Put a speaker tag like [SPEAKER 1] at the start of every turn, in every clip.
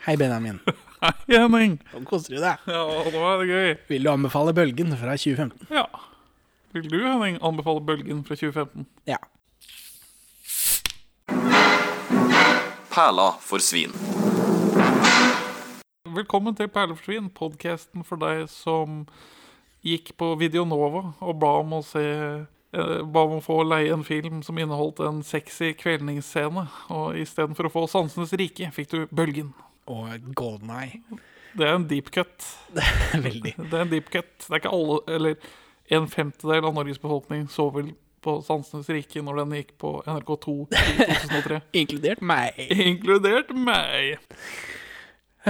[SPEAKER 1] Hei, Benjamin.
[SPEAKER 2] Hei, Henning.
[SPEAKER 1] Nå koser du deg.
[SPEAKER 2] Ja, nå er det gøy.
[SPEAKER 1] Vil du anbefale Bølgen fra 2015?
[SPEAKER 2] Ja. Vil du, Henning, anbefale Bølgen fra 2015?
[SPEAKER 1] Ja.
[SPEAKER 3] Perla for svin.
[SPEAKER 2] Velkommen til Perleforsvin, podkasten for deg som gikk på Videonova og ba om å se eh, Ba om å få leie en film som inneholdt en sexy kvelningsscene. Og istedenfor å få Sansenes rike, fikk du Bølgen.
[SPEAKER 1] Og Golden Eye.
[SPEAKER 2] Det er en deep cut.
[SPEAKER 1] Veldig.
[SPEAKER 2] Det er en deep cut. Det er ikke alle, eller en femtedel av Norges befolkning så vel på Sansenes rike når den gikk på NRK2 i 2003.
[SPEAKER 1] Inkludert meg.
[SPEAKER 2] Inkludert meg.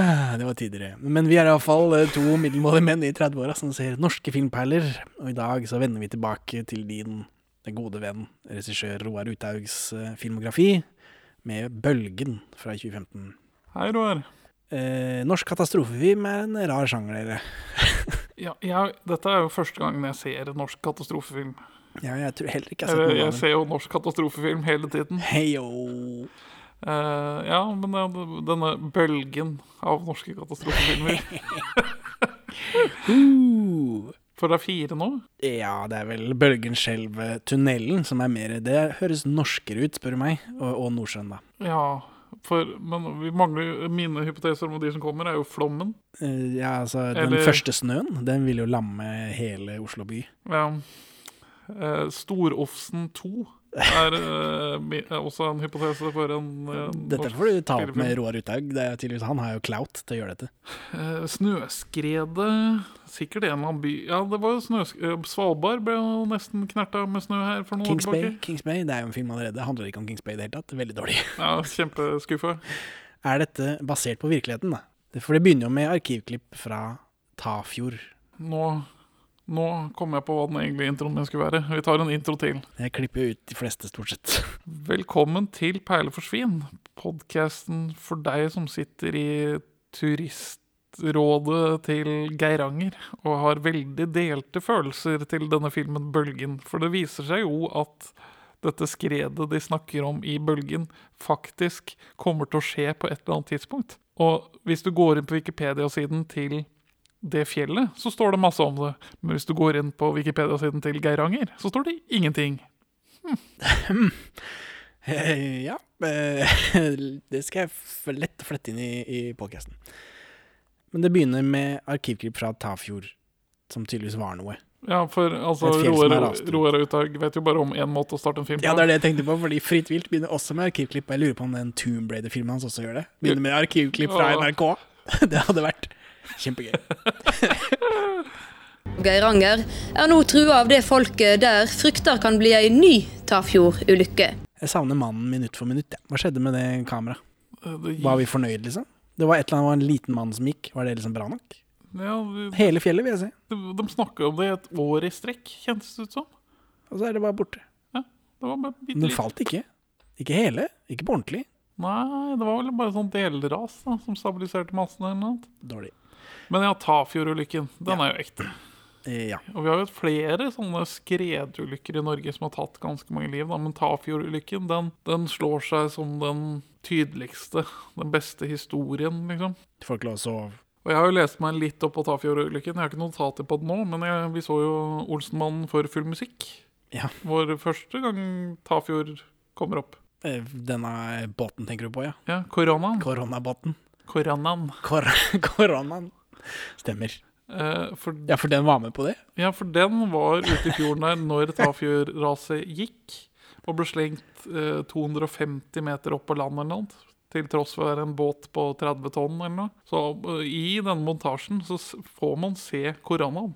[SPEAKER 1] Ah, Det var tidligere. Men vi er iallfall eh, to middelmådige menn i 30-åra som ser norske filmperler. Og i dag så vender vi tilbake til din den gode venn, regissør Roar Uthaugs eh, filmografi med Bølgen fra 2015.
[SPEAKER 2] Hei, Roar.
[SPEAKER 1] Eh, norsk katastrofefilm er en rar sjanger, dere.
[SPEAKER 2] Ja, jeg, dette er jo første gangen jeg ser en norsk katastrofefilm.
[SPEAKER 1] Ja, jeg tror heller ikke jeg har sett noen
[SPEAKER 2] Eller,
[SPEAKER 1] av
[SPEAKER 2] Eh, jeg
[SPEAKER 1] dem.
[SPEAKER 2] ser jo norsk katastrofefilm hele tiden.
[SPEAKER 1] Heyo.
[SPEAKER 2] Eh, ja, men eh, denne bølgen av norske katastrofefilmer
[SPEAKER 1] Uh.
[SPEAKER 2] For det er fire nå?
[SPEAKER 1] Ja, det er vel Bølgenskjelv-tunnelen som er mer Det høres norskere ut, spør du meg. Og, og Nordsjøen, da.
[SPEAKER 2] Ja. For, men vi mangler jo- mine hypoteser om de som kommer, er jo flommen.
[SPEAKER 1] Eh, Ja, altså, den
[SPEAKER 2] Eller-
[SPEAKER 1] første snøen, den vil jo lamme hele Oslo by.
[SPEAKER 2] Ja. Eh, Storofsen 2 er eh, mi- er også en hypotese for en, en
[SPEAKER 1] Dette
[SPEAKER 2] norsk
[SPEAKER 1] får du ta opp med
[SPEAKER 2] spillefilm.
[SPEAKER 1] Roar Uthaug. Det er jo tydeligvis- Han har jo clout til å gjøre dette.
[SPEAKER 2] Eh, Snøskredet Sikkert en eller annen by Ja, det var jo snøsk... eh, Svalbard ble jo nesten knerta med snø her for noen
[SPEAKER 1] Kings
[SPEAKER 2] år
[SPEAKER 1] Bay,
[SPEAKER 2] tilbake.
[SPEAKER 1] Kings Bay, det er jo en film allerede. Det handler ikke om Kings Bay i det hele tatt. Veldig dårlig.
[SPEAKER 2] Ja, Kjempeskuffa.
[SPEAKER 1] Er dette basert på virkeligheten, da? Det- For det begynner jo med arkivklipp fra Tafjord.
[SPEAKER 2] Nå, nå kom jeg på hva den egentlige introen min skulle være. Vi tar en intro til.
[SPEAKER 1] Jeg klipper jo ut de fleste, stort sett.
[SPEAKER 2] Velkommen til Perle for svin, podkasten for deg som sitter i turistrådet til Geiranger og har veldig delte følelser til denne filmen Bølgen. For det viser seg jo at dette skredet de snakker om i Bølgen, faktisk kommer til å skje på et eller annet tidspunkt. Og hvis du går inn på Wikipedia-siden til det fjellet, så står det masse om det. Men hvis du går inn på Wikipedia-siden til Geiranger, så står det ingenting.
[SPEAKER 1] Eh, Ja, eh, det skal jeg f- lett flette inn i, i podcasten. Men det begynner med arkivklipp fra Tafjord, som tydeligvis var noe.
[SPEAKER 2] Ja, for altså,
[SPEAKER 1] Et fjell som er
[SPEAKER 2] Roar
[SPEAKER 1] rast rundt.
[SPEAKER 2] Roar Uthaug vet jo bare om én måte å starte en film på.
[SPEAKER 1] Ja, det er det jeg tenkte på, fordi Fritt vilt begynner også med arkivklipp. og Jeg lurer på om den Tomb Raider-filmen hans også gjør det. Begynner med arkivklipp fra
[SPEAKER 2] Ja.
[SPEAKER 1] NRK. Det hadde vært kjempegøy.
[SPEAKER 4] Geiranger er nå trua av det folket der frykter kan bli ei ny Tafjord-ulykke.
[SPEAKER 1] Jeg savner mannen minutt for minutt. Ja. Hva skjedde med det kameraet?
[SPEAKER 2] Eh, det
[SPEAKER 1] Var vi fornøyd, liksom? Det var et eller annet, det var en liten mann som gikk. Var det liksom bra nok?
[SPEAKER 2] ja, de,
[SPEAKER 1] Hele fjellet, vil jeg si.
[SPEAKER 2] de snakka om det i et år i strekk, kjentes det ut som.
[SPEAKER 1] Og så er det bare borte.
[SPEAKER 2] Ja, det var bare bitte
[SPEAKER 1] Men den
[SPEAKER 2] litt.
[SPEAKER 1] falt ikke. Ikke hele. Ikke på ordentlig.
[SPEAKER 2] Nei, det var vel bare sånn delras da, som stabiliserte massen eller noe. annet.
[SPEAKER 1] Dårlig.
[SPEAKER 2] Men ja, Tafjord-ulykken, den er jo ekte.
[SPEAKER 1] Eh, ja.
[SPEAKER 2] Og vi har jo hatt flere sånne skredulykker i Norge som har tatt ganske mange liv, da. Men Tafjord-ulykken, den, den slår seg som den tydeligste, den beste historien, liksom.
[SPEAKER 1] Folk lå og sov.
[SPEAKER 2] Og jeg har jo lest meg litt opp på Tafjord-ulykken. Jeg har ikke notater på det nå, men jeg, vi så jo Olsenmannen for full musikk.
[SPEAKER 1] Ja.
[SPEAKER 2] Vår første gang Tafjord kommer opp.
[SPEAKER 1] Eh, Denne båten tenker du på, ja?
[SPEAKER 2] Ja, koronaen.
[SPEAKER 1] Koronabåten.
[SPEAKER 2] Koronaen.
[SPEAKER 1] Kor koronaen. Stemmer.
[SPEAKER 2] Eh, for, ja.
[SPEAKER 1] Ja, for den var med på det?
[SPEAKER 2] for den var ute i fjorden der når Tafjordraset gikk, og ble slengt eh, 250 meter opp på land eller noe. annet, Til tross for å være en båt på 30 tonn eller noe. Så eh, i denne montasjen så s- får man se koronaen.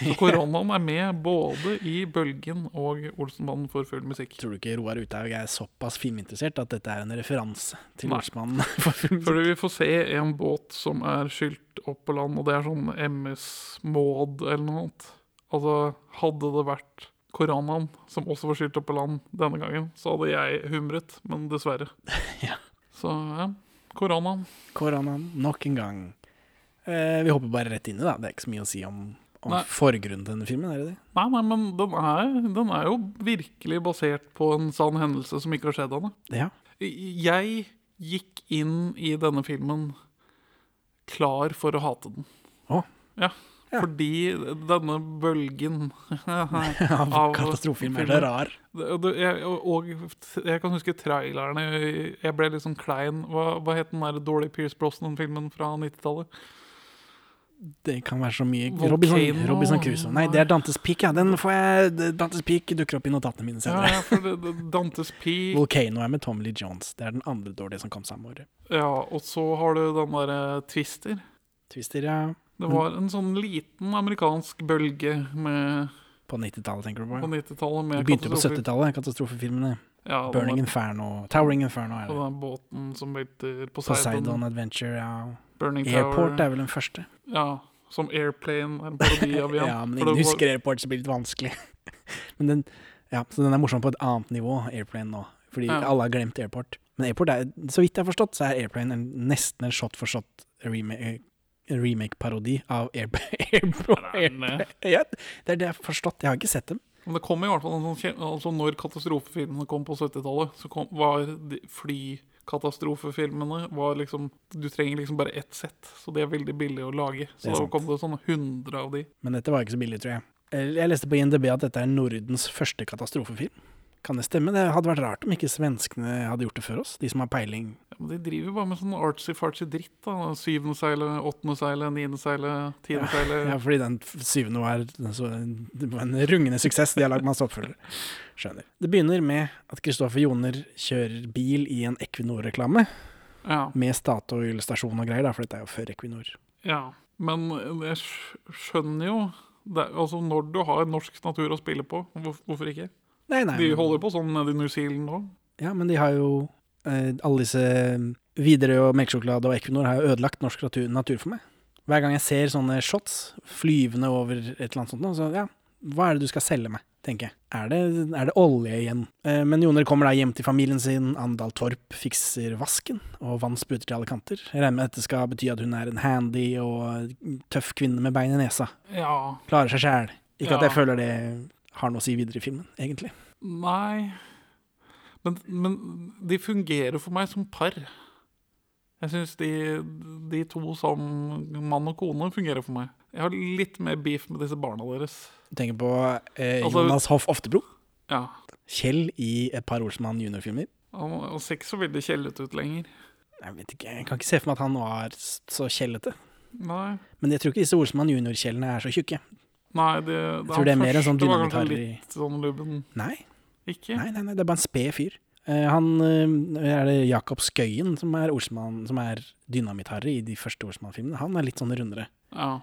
[SPEAKER 2] Så koronaen er med både i Bølgen og Olsenmannen for full musikk.
[SPEAKER 1] Tror du ikke Roar Uthaug er såpass filminteressert at dette er en referanse til
[SPEAKER 2] Nei.
[SPEAKER 1] Norskmannen? for film?
[SPEAKER 2] Fordi vi får se en båt som er skylt opp på land, og det er sånn MS Maud eller noe annet. Altså, hadde det vært Koranan som også var skylt opp på land denne gangen, så hadde jeg humret, men dessverre.
[SPEAKER 1] Ja.
[SPEAKER 2] Så ja, Koranan.
[SPEAKER 1] Koronaen, nok en gang. Eh, vi hopper bare rett inn i det, da. Det er ikke så mye å si om, om
[SPEAKER 2] Nei.
[SPEAKER 1] forgrunnen til denne filmen, er det det?
[SPEAKER 2] Nei, nei, men den er, den er jo virkelig basert på en sann hendelse som ikke har skjedd henne.
[SPEAKER 1] Ja.
[SPEAKER 2] Jeg gikk inn i denne filmen klar for å hate den.
[SPEAKER 1] Å. Ja.
[SPEAKER 2] Ja. Fordi denne bølgen
[SPEAKER 1] Av
[SPEAKER 2] av
[SPEAKER 1] katastrofefilm er
[SPEAKER 2] filmer.
[SPEAKER 1] det rar.
[SPEAKER 2] Det- og det- jeg, og- og jeg kan huske trailerne. Jeg ble litt sånn klein. Hva, hva het den der dårlige Pierce Brosnan-filmen fra 90-tallet?
[SPEAKER 1] Det kan være så mye
[SPEAKER 2] Volcano.
[SPEAKER 1] Robinson, Robinson Crusoe. Nei, det er Dantes Peak, ja. Den får jeg Dantes Peak dukker opp i notatene mine
[SPEAKER 2] Ja,
[SPEAKER 1] senere.
[SPEAKER 2] ja, for det, det, Dantes Peak.
[SPEAKER 1] Volcano er med Tom Lee Jones. Det er den andre dårlige som kom samme året.
[SPEAKER 2] Ja, og så har du den derre Twister.
[SPEAKER 1] Twister, ja.
[SPEAKER 2] Det var
[SPEAKER 1] Mm.
[SPEAKER 2] en sånn liten amerikansk bølge med,
[SPEAKER 1] På 90-tallet, tenker du
[SPEAKER 2] på
[SPEAKER 1] på?
[SPEAKER 2] 90-tallet.
[SPEAKER 1] Det
[SPEAKER 2] med
[SPEAKER 1] begynte jo på
[SPEAKER 2] katastrofer.
[SPEAKER 1] 70-tallet, katastrofefilmene.
[SPEAKER 2] Ja, den
[SPEAKER 1] Burning
[SPEAKER 2] der-
[SPEAKER 1] Inferno, Towering Inferno er
[SPEAKER 2] Og
[SPEAKER 1] det.
[SPEAKER 2] den båten som velter Poseidon.
[SPEAKER 1] Poseidon Adventure, ja.
[SPEAKER 2] Burning
[SPEAKER 1] Airport
[SPEAKER 2] Tower.
[SPEAKER 1] er vel den første.
[SPEAKER 2] Ja, som Airplane er en parodi av igjen.
[SPEAKER 1] Ja, men
[SPEAKER 2] For det
[SPEAKER 1] ingen
[SPEAKER 2] var-
[SPEAKER 1] husker Airport, så blir det litt vanskelig. Men den, ja, så den er morsom på et annet nivå, Airplane nå. Fordi
[SPEAKER 2] Ja.
[SPEAKER 1] alle har glemt Airport. Men Airport er, så vidt jeg har forstått, så er Airplane en, nesten en shot for shot remake. Remake-parodi av Air- Airport.
[SPEAKER 2] Er den det?
[SPEAKER 1] Ja, det er det jeg har forstått. Jeg har ikke sett dem.
[SPEAKER 2] Men det kom i hvert fall en sånn kjem- altså Når katastrofefilmene kom på 70-tallet, så kom, var de- flykatastrofefilmene var liksom Du trenger liksom bare ett sett, så de er veldig billige å
[SPEAKER 1] Det
[SPEAKER 2] lage.
[SPEAKER 1] er
[SPEAKER 2] Så da
[SPEAKER 1] sant.
[SPEAKER 2] kom det sånn 100 av de.
[SPEAKER 1] Men dette var ikke så billig, tror jeg. Eller, Jeg leste på INDB at dette er Nordens første katastrofefilm. Kan det stemme? Det hadde vært rart om ikke svenskene hadde gjort det før oss, de som har peiling.
[SPEAKER 2] Ja, men De driver jo bare med sånn artsy-fartsy dritt. da Syvende seilet, åttende seilet, niende seilet, tiende
[SPEAKER 1] Ja,
[SPEAKER 2] seilet.
[SPEAKER 1] fordi den f- syvende var, den så, det var en rungende suksess. De har lagd masse oppfølgere. Skjønner. Det begynner med at Kristoffer Joner kjører bil i en Equinor-reklame.
[SPEAKER 2] Ja,
[SPEAKER 1] Med Statoil-stasjon og greier, da, for dette er jo før Equinor.
[SPEAKER 2] ja. Men jeg skj- skjønner jo det, altså Når du har norsk natur å spille på, hvor, hvorfor ikke?
[SPEAKER 1] Nei, nei.
[SPEAKER 2] De
[SPEAKER 1] men-
[SPEAKER 2] holder på sånn nede i New Zealand nå.
[SPEAKER 1] Ja, men de har jo eh, alle disse Widerøe og melkesjokolade og Equinor har jo ødelagt norsk natur, natur for meg. Hver gang jeg ser sånne shots flyvende over et eller annet sånt, nå, så ja, hva er det du skal selge meg, tenker jeg. Er det, er det olje igjen? Eh, men Joner kommer da hjem til familien sin, Andal Torp fikser vasken, og vann spruter til alle kanter. Jeg regner med at dette skal bety at hun er en handy og eh, tøff kvinne med bein i nesa.
[SPEAKER 2] Ja,
[SPEAKER 1] Klarer seg sjæl. Ikke at
[SPEAKER 2] Ja.
[SPEAKER 1] jeg føler det har noe å si videre i filmen, egentlig.
[SPEAKER 2] Nei men, men de fungerer for meg som par. Jeg syns de, de to som mann og kone fungerer for meg. Jeg har litt mer beef med disse barna deres.
[SPEAKER 1] Du tenker på eh,
[SPEAKER 2] Altså-
[SPEAKER 1] Jonas Hoff Oftebro.
[SPEAKER 2] Ja.
[SPEAKER 1] Kjell i et par Olsmann junior-filmer.
[SPEAKER 2] Han, han ser ikke så veldig kjellete ut lenger.
[SPEAKER 1] Jeg vet ikke, jeg kan ikke se for meg at han var s- så kjellete.
[SPEAKER 2] Nei.
[SPEAKER 1] Men jeg tror ikke disse Olsmann junior-kjellene er så tjukke.
[SPEAKER 2] Nei, det,
[SPEAKER 1] Jeg tror det er mer en sånn
[SPEAKER 2] var
[SPEAKER 1] dynamitt
[SPEAKER 2] kanskje
[SPEAKER 1] i
[SPEAKER 2] litt sånn lubben.
[SPEAKER 1] nei,
[SPEAKER 2] Ikke?
[SPEAKER 1] nei, nei, nei, det er bare en sped fyr. Eh, han eh, er det Jakob Skøyen som er, Olsmann- som er dynamitt-harry i de første Olsmann-filmene. Han er litt sånn rundere.
[SPEAKER 2] Ja.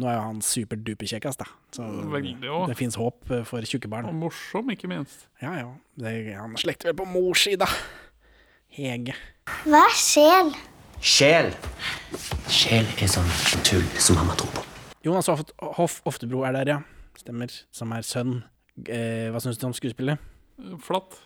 [SPEAKER 1] Nå er jo han superduper-kjekkas, da. Så
[SPEAKER 2] Veldig òg.
[SPEAKER 1] det fins håp eh, for tjukke barn.
[SPEAKER 2] Og morsom, ikke minst.
[SPEAKER 1] Ja ja, det, han slekter vel på mors side, da. Hege.
[SPEAKER 3] Hva er sjel?
[SPEAKER 5] Sjel. Sjel er sånn tull som mamma tror på.
[SPEAKER 1] Jonas altså, Hoff, Hoff Oftebro er der, ja. Stemmer. Som er sønn. Eh, hva syns du om skuespillet?
[SPEAKER 2] Flatt.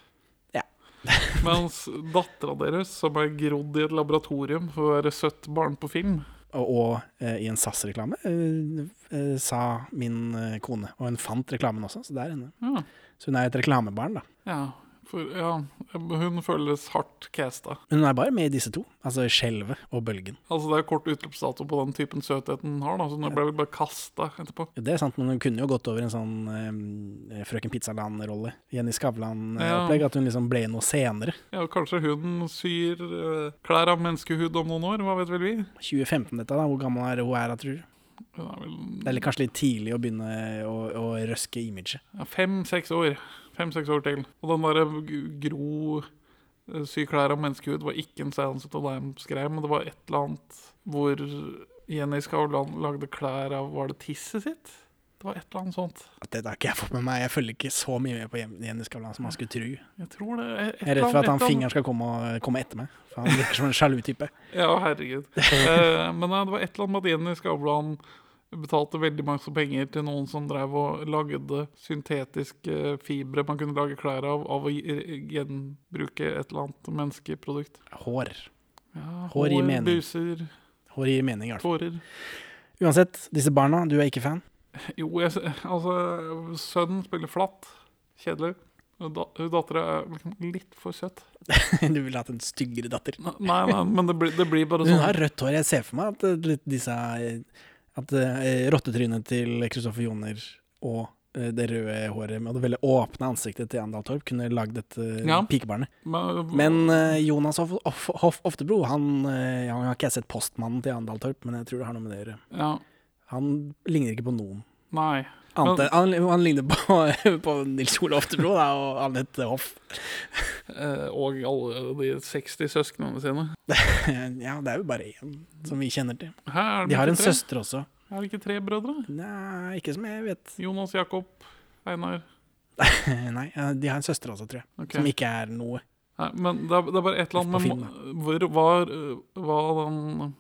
[SPEAKER 1] Ja.
[SPEAKER 2] Mens dattera deres, som er grodd i et laboratorium for å være søtt barn på film,
[SPEAKER 1] Og, og eh, i en SAS-reklame eh, eh, sa min eh, kone. Og hun fant reklamen også, så der inne.
[SPEAKER 2] Ja.
[SPEAKER 1] Så hun er et reklamebarn, da.
[SPEAKER 2] Ja, for, ja, hun føles hardt casta.
[SPEAKER 1] Men hun er bare med i disse to. Altså Skjelvet og Bølgen.
[SPEAKER 2] Altså Det er kort utløpsdato på den typen søthet hun har, da, så hun ble vel bare kasta etterpå.
[SPEAKER 1] Det er sant, men hun kunne jo gått over en sånn eh, Frøken Pizzaland-rolle. Jenny
[SPEAKER 2] Ja.
[SPEAKER 1] Skavlan-opplegg. At hun liksom ble noe senere.
[SPEAKER 2] Ja, og Kanskje hun syr eh, klær av menneskehud om noen år, hva vet vel vi?
[SPEAKER 1] 2015 dette, da. Hvor gammel er hun er, da, tror du?
[SPEAKER 2] Hun er
[SPEAKER 1] Det er
[SPEAKER 2] vel
[SPEAKER 1] litt- kanskje litt tidlig å begynne å, å røske imaget.
[SPEAKER 2] ja, fem-seks år. Fem-seks år til. Og den derre g- gro eh, sy klær av menneskehud var ikke en Silence of the Lambs-greie, men det var et eller annet hvor Jenny Skavlan lagde klær av Var det tisset sitt? Det var et eller annet sånt.
[SPEAKER 1] At dette har ikke jeg fått med meg. Jeg følger ikke så mye med på Jen- Jenny Skavlan som man skulle tro. Jeg
[SPEAKER 2] Jeg tror det et
[SPEAKER 1] er
[SPEAKER 2] eller
[SPEAKER 1] redd for at
[SPEAKER 2] annet-
[SPEAKER 1] han
[SPEAKER 2] et eller annet-
[SPEAKER 1] fingeren skal komme, og- komme etter meg. For han virker som en sjalu type.
[SPEAKER 2] Ja, herregud. Eh, men nei, det var et eller annet med at Jenny Skavlan betalte veldig masse penger til noen som drev og lagde syntetiske fibre man kunne lage klær av, av å gi- eh, gjenbruke et eller annet menneskeprodukt.
[SPEAKER 1] Hår.
[SPEAKER 2] Ja,
[SPEAKER 1] Hår gir mening.
[SPEAKER 2] buser,
[SPEAKER 1] Hår gir mening, i hvert fall.
[SPEAKER 2] tårer.
[SPEAKER 1] Uansett, disse barna, du er ikke fan.
[SPEAKER 2] Jo, jeg, s- altså Sønnen spiller flatt. Kjedelig. Dattera er liksom litt for søt.
[SPEAKER 1] Du ville hatt en styggere datter.
[SPEAKER 2] Nei, nei, men det blir, det blir bare
[SPEAKER 1] Hun
[SPEAKER 2] sånn.
[SPEAKER 1] har rødt hår. Jeg ser for meg at eh, litt disse eh, At eh, rottetrynet til Kristoffer Joner og eh, det røde håret med det veldig åpne ansiktet til Andal Torp kunne lagd et ja.
[SPEAKER 2] Ja.
[SPEAKER 1] pikebarnet.
[SPEAKER 2] Men,
[SPEAKER 1] Men eh, Jonas Hoff, Hoff, Hoff Oftebro, han, eh, han har ikke jeg sett postmannen til Andal Torp, men jeg tror det har noe med det å gjøre.
[SPEAKER 2] ja,
[SPEAKER 1] Han ligner ikke på noen.
[SPEAKER 2] nei.
[SPEAKER 1] Annet, enn- han, han ligner på, på Nils Ole Oftebro da, og Anette Hoff.
[SPEAKER 2] Eh, og alle de 60 søsknene sine.
[SPEAKER 1] Ja, det er jo bare én som vi kjenner til.
[SPEAKER 2] Hæ, er det
[SPEAKER 1] De har
[SPEAKER 2] ikke
[SPEAKER 1] en
[SPEAKER 2] tre?
[SPEAKER 1] søster også.
[SPEAKER 2] Er det ikke tre brødre?
[SPEAKER 1] Nei, ikke som jeg vet.
[SPEAKER 2] Jonas, Jakob, Einar.
[SPEAKER 1] Nei, ja, de har en søster også, tror jeg.
[SPEAKER 2] Ok.
[SPEAKER 1] Som ikke er noe.
[SPEAKER 2] Nei, men det er, det er bare et eller annet
[SPEAKER 1] På
[SPEAKER 2] med må- hvor, var, hva den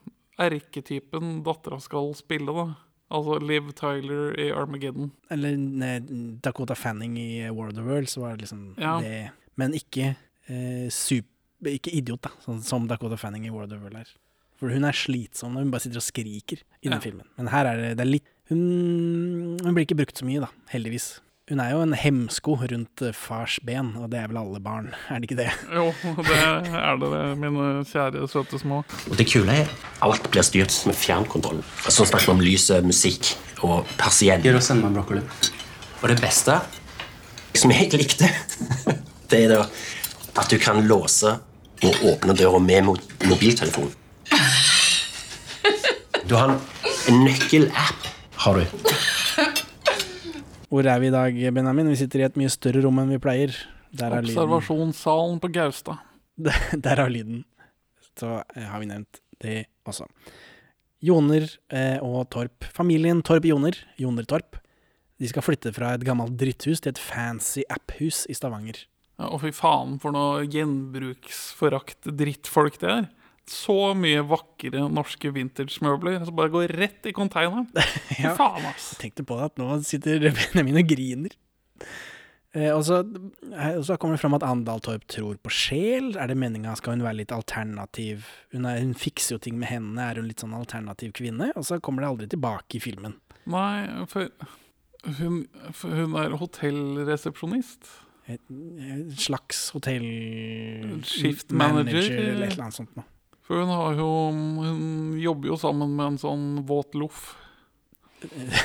[SPEAKER 2] erketypen dattera skal spille, da. Altså Liv Tyler i Armageddon.
[SPEAKER 1] Eller nei, Dakota Fanning i eh, War of the Worlds var liksom
[SPEAKER 2] Ja.
[SPEAKER 1] det. Men ikke eh, sup- Ikke idiot, da, sånn som Dakota Fanning i War of the World er. For hun er slitsom når hun bare sitter og skriker i den
[SPEAKER 2] Ja.
[SPEAKER 1] filmen. Men her er det, det er litt hun, hun blir ikke brukt så mye, da. Heldigvis. Hun er jo en hemsko rundt eh, fars ben, og det er vel alle barn, er det ikke det?
[SPEAKER 2] Jo, det er dere, mine kjære søte små.
[SPEAKER 5] Og det kule er alt blir styrt med fjernkontroll. Sånn snakker vi om lyset, musikk og persienner. Og det beste, som jeg likte, det er da at du kan låse og åpne døra med mo- mobiltelefon. Du har en- en nøkkelapp. Har du?
[SPEAKER 1] Hvor er vi i dag, Benjamin? Vi sitter i et mye større rom enn vi pleier. Der er lyden.
[SPEAKER 2] Observasjonssalen på Gaustad.
[SPEAKER 1] Der har lyden. Så eh, har vi nevnt det også. Joner eh, og Torp. Familien Torp-Joner, Joner Torp, de skal flytte fra et gammelt dritthus til et fancy app-hus i Stavanger.
[SPEAKER 2] Ja, og fy faen for noe gjenbruksforakt drittfolk det er. Så mye vakre norske vintage-møbler som bare går rett i konteineren. Fy
[SPEAKER 1] Ja.
[SPEAKER 2] faen, ass.
[SPEAKER 1] Tenkte på det at nå sitter Benjamin og griner. Eh, og, så, eh, og så kommer det fram at Andal Torp tror på sjel. Er det meninga skal hun være litt alternativ? Hun, er, hun fikser jo ting med hendene, er hun litt sånn alternativ kvinne? Og så kommer det aldri tilbake i filmen.
[SPEAKER 2] Nei, for hun, for hun er hotellresepsjonist.
[SPEAKER 1] Et, et Eh, slags hotell...
[SPEAKER 2] Shift manager,
[SPEAKER 1] eller
[SPEAKER 2] eller?
[SPEAKER 1] et eller annet sånt noe.
[SPEAKER 2] For hun har jo Hun jobber jo sammen med en sånn våt loff.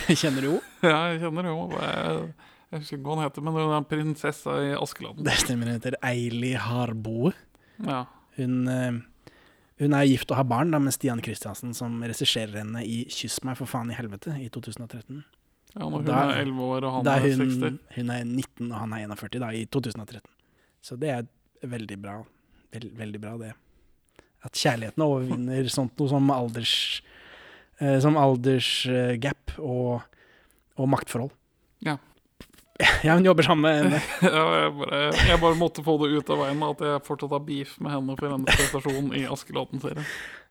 [SPEAKER 1] Kjenner du jo?
[SPEAKER 2] Jeg kjenner jo Jeg, jeg husker ikke hva hun heter, men hun er prinsessa i Askeladden.
[SPEAKER 1] Det stemmer, hun heter Eili Harboe.
[SPEAKER 2] Ja.
[SPEAKER 1] Hun, eh, hun er gift og har barn da, med Stian Kristiansen, som regisserer henne i 'Kyss meg, for faen i helvete' i 2013.
[SPEAKER 2] ja når hun
[SPEAKER 1] Da-
[SPEAKER 2] er 11 år og han
[SPEAKER 1] Da
[SPEAKER 2] er
[SPEAKER 1] hun,
[SPEAKER 2] 60.
[SPEAKER 1] hun er 19 og han er 41 da, i 2013. Så det er veldig bra. Vel, veldig bra, det. At kjærligheten overvinner sånt noe som alders... Eh, som aldersgap og, og maktforhold.
[SPEAKER 2] Ja.
[SPEAKER 1] Ja, hun jobber sammen med henne.
[SPEAKER 2] Ja, jeg, bare, jeg bare måtte få det ut av veien at jeg fortsatt har beef med henne for hennes prestasjon i Askeladden-serien.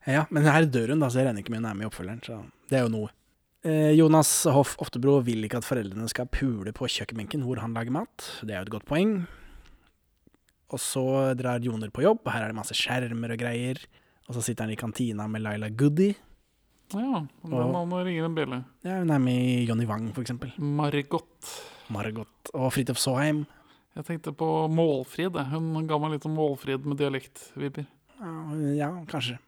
[SPEAKER 1] Ja, men her dør hun, da, så jeg regner ikke med hun er med i oppfølgeren. Så det er jo noe. Eh, Jonas Hoff Oftebro vil ikke at foreldrene skal pule på kjøkkenbenken hvor han lager mat. Det er jo et godt poeng. Og så drar Joner på jobb, og her er det masse skjermer og greier. Og så sitter han i kantina med Laila Goody.
[SPEAKER 2] Ja,
[SPEAKER 1] Og-
[SPEAKER 2] den andre ringer en bjelle.
[SPEAKER 1] Ja, hun er med i Johnny Wang, for eksempel.
[SPEAKER 2] Margot.
[SPEAKER 1] Margot og Fridtjof Saaheim.
[SPEAKER 2] Jeg tenkte på Målfrid. jeg. Hun ga meg litt om Målfrid med dialektvibber.
[SPEAKER 1] Ja, ja kanskje.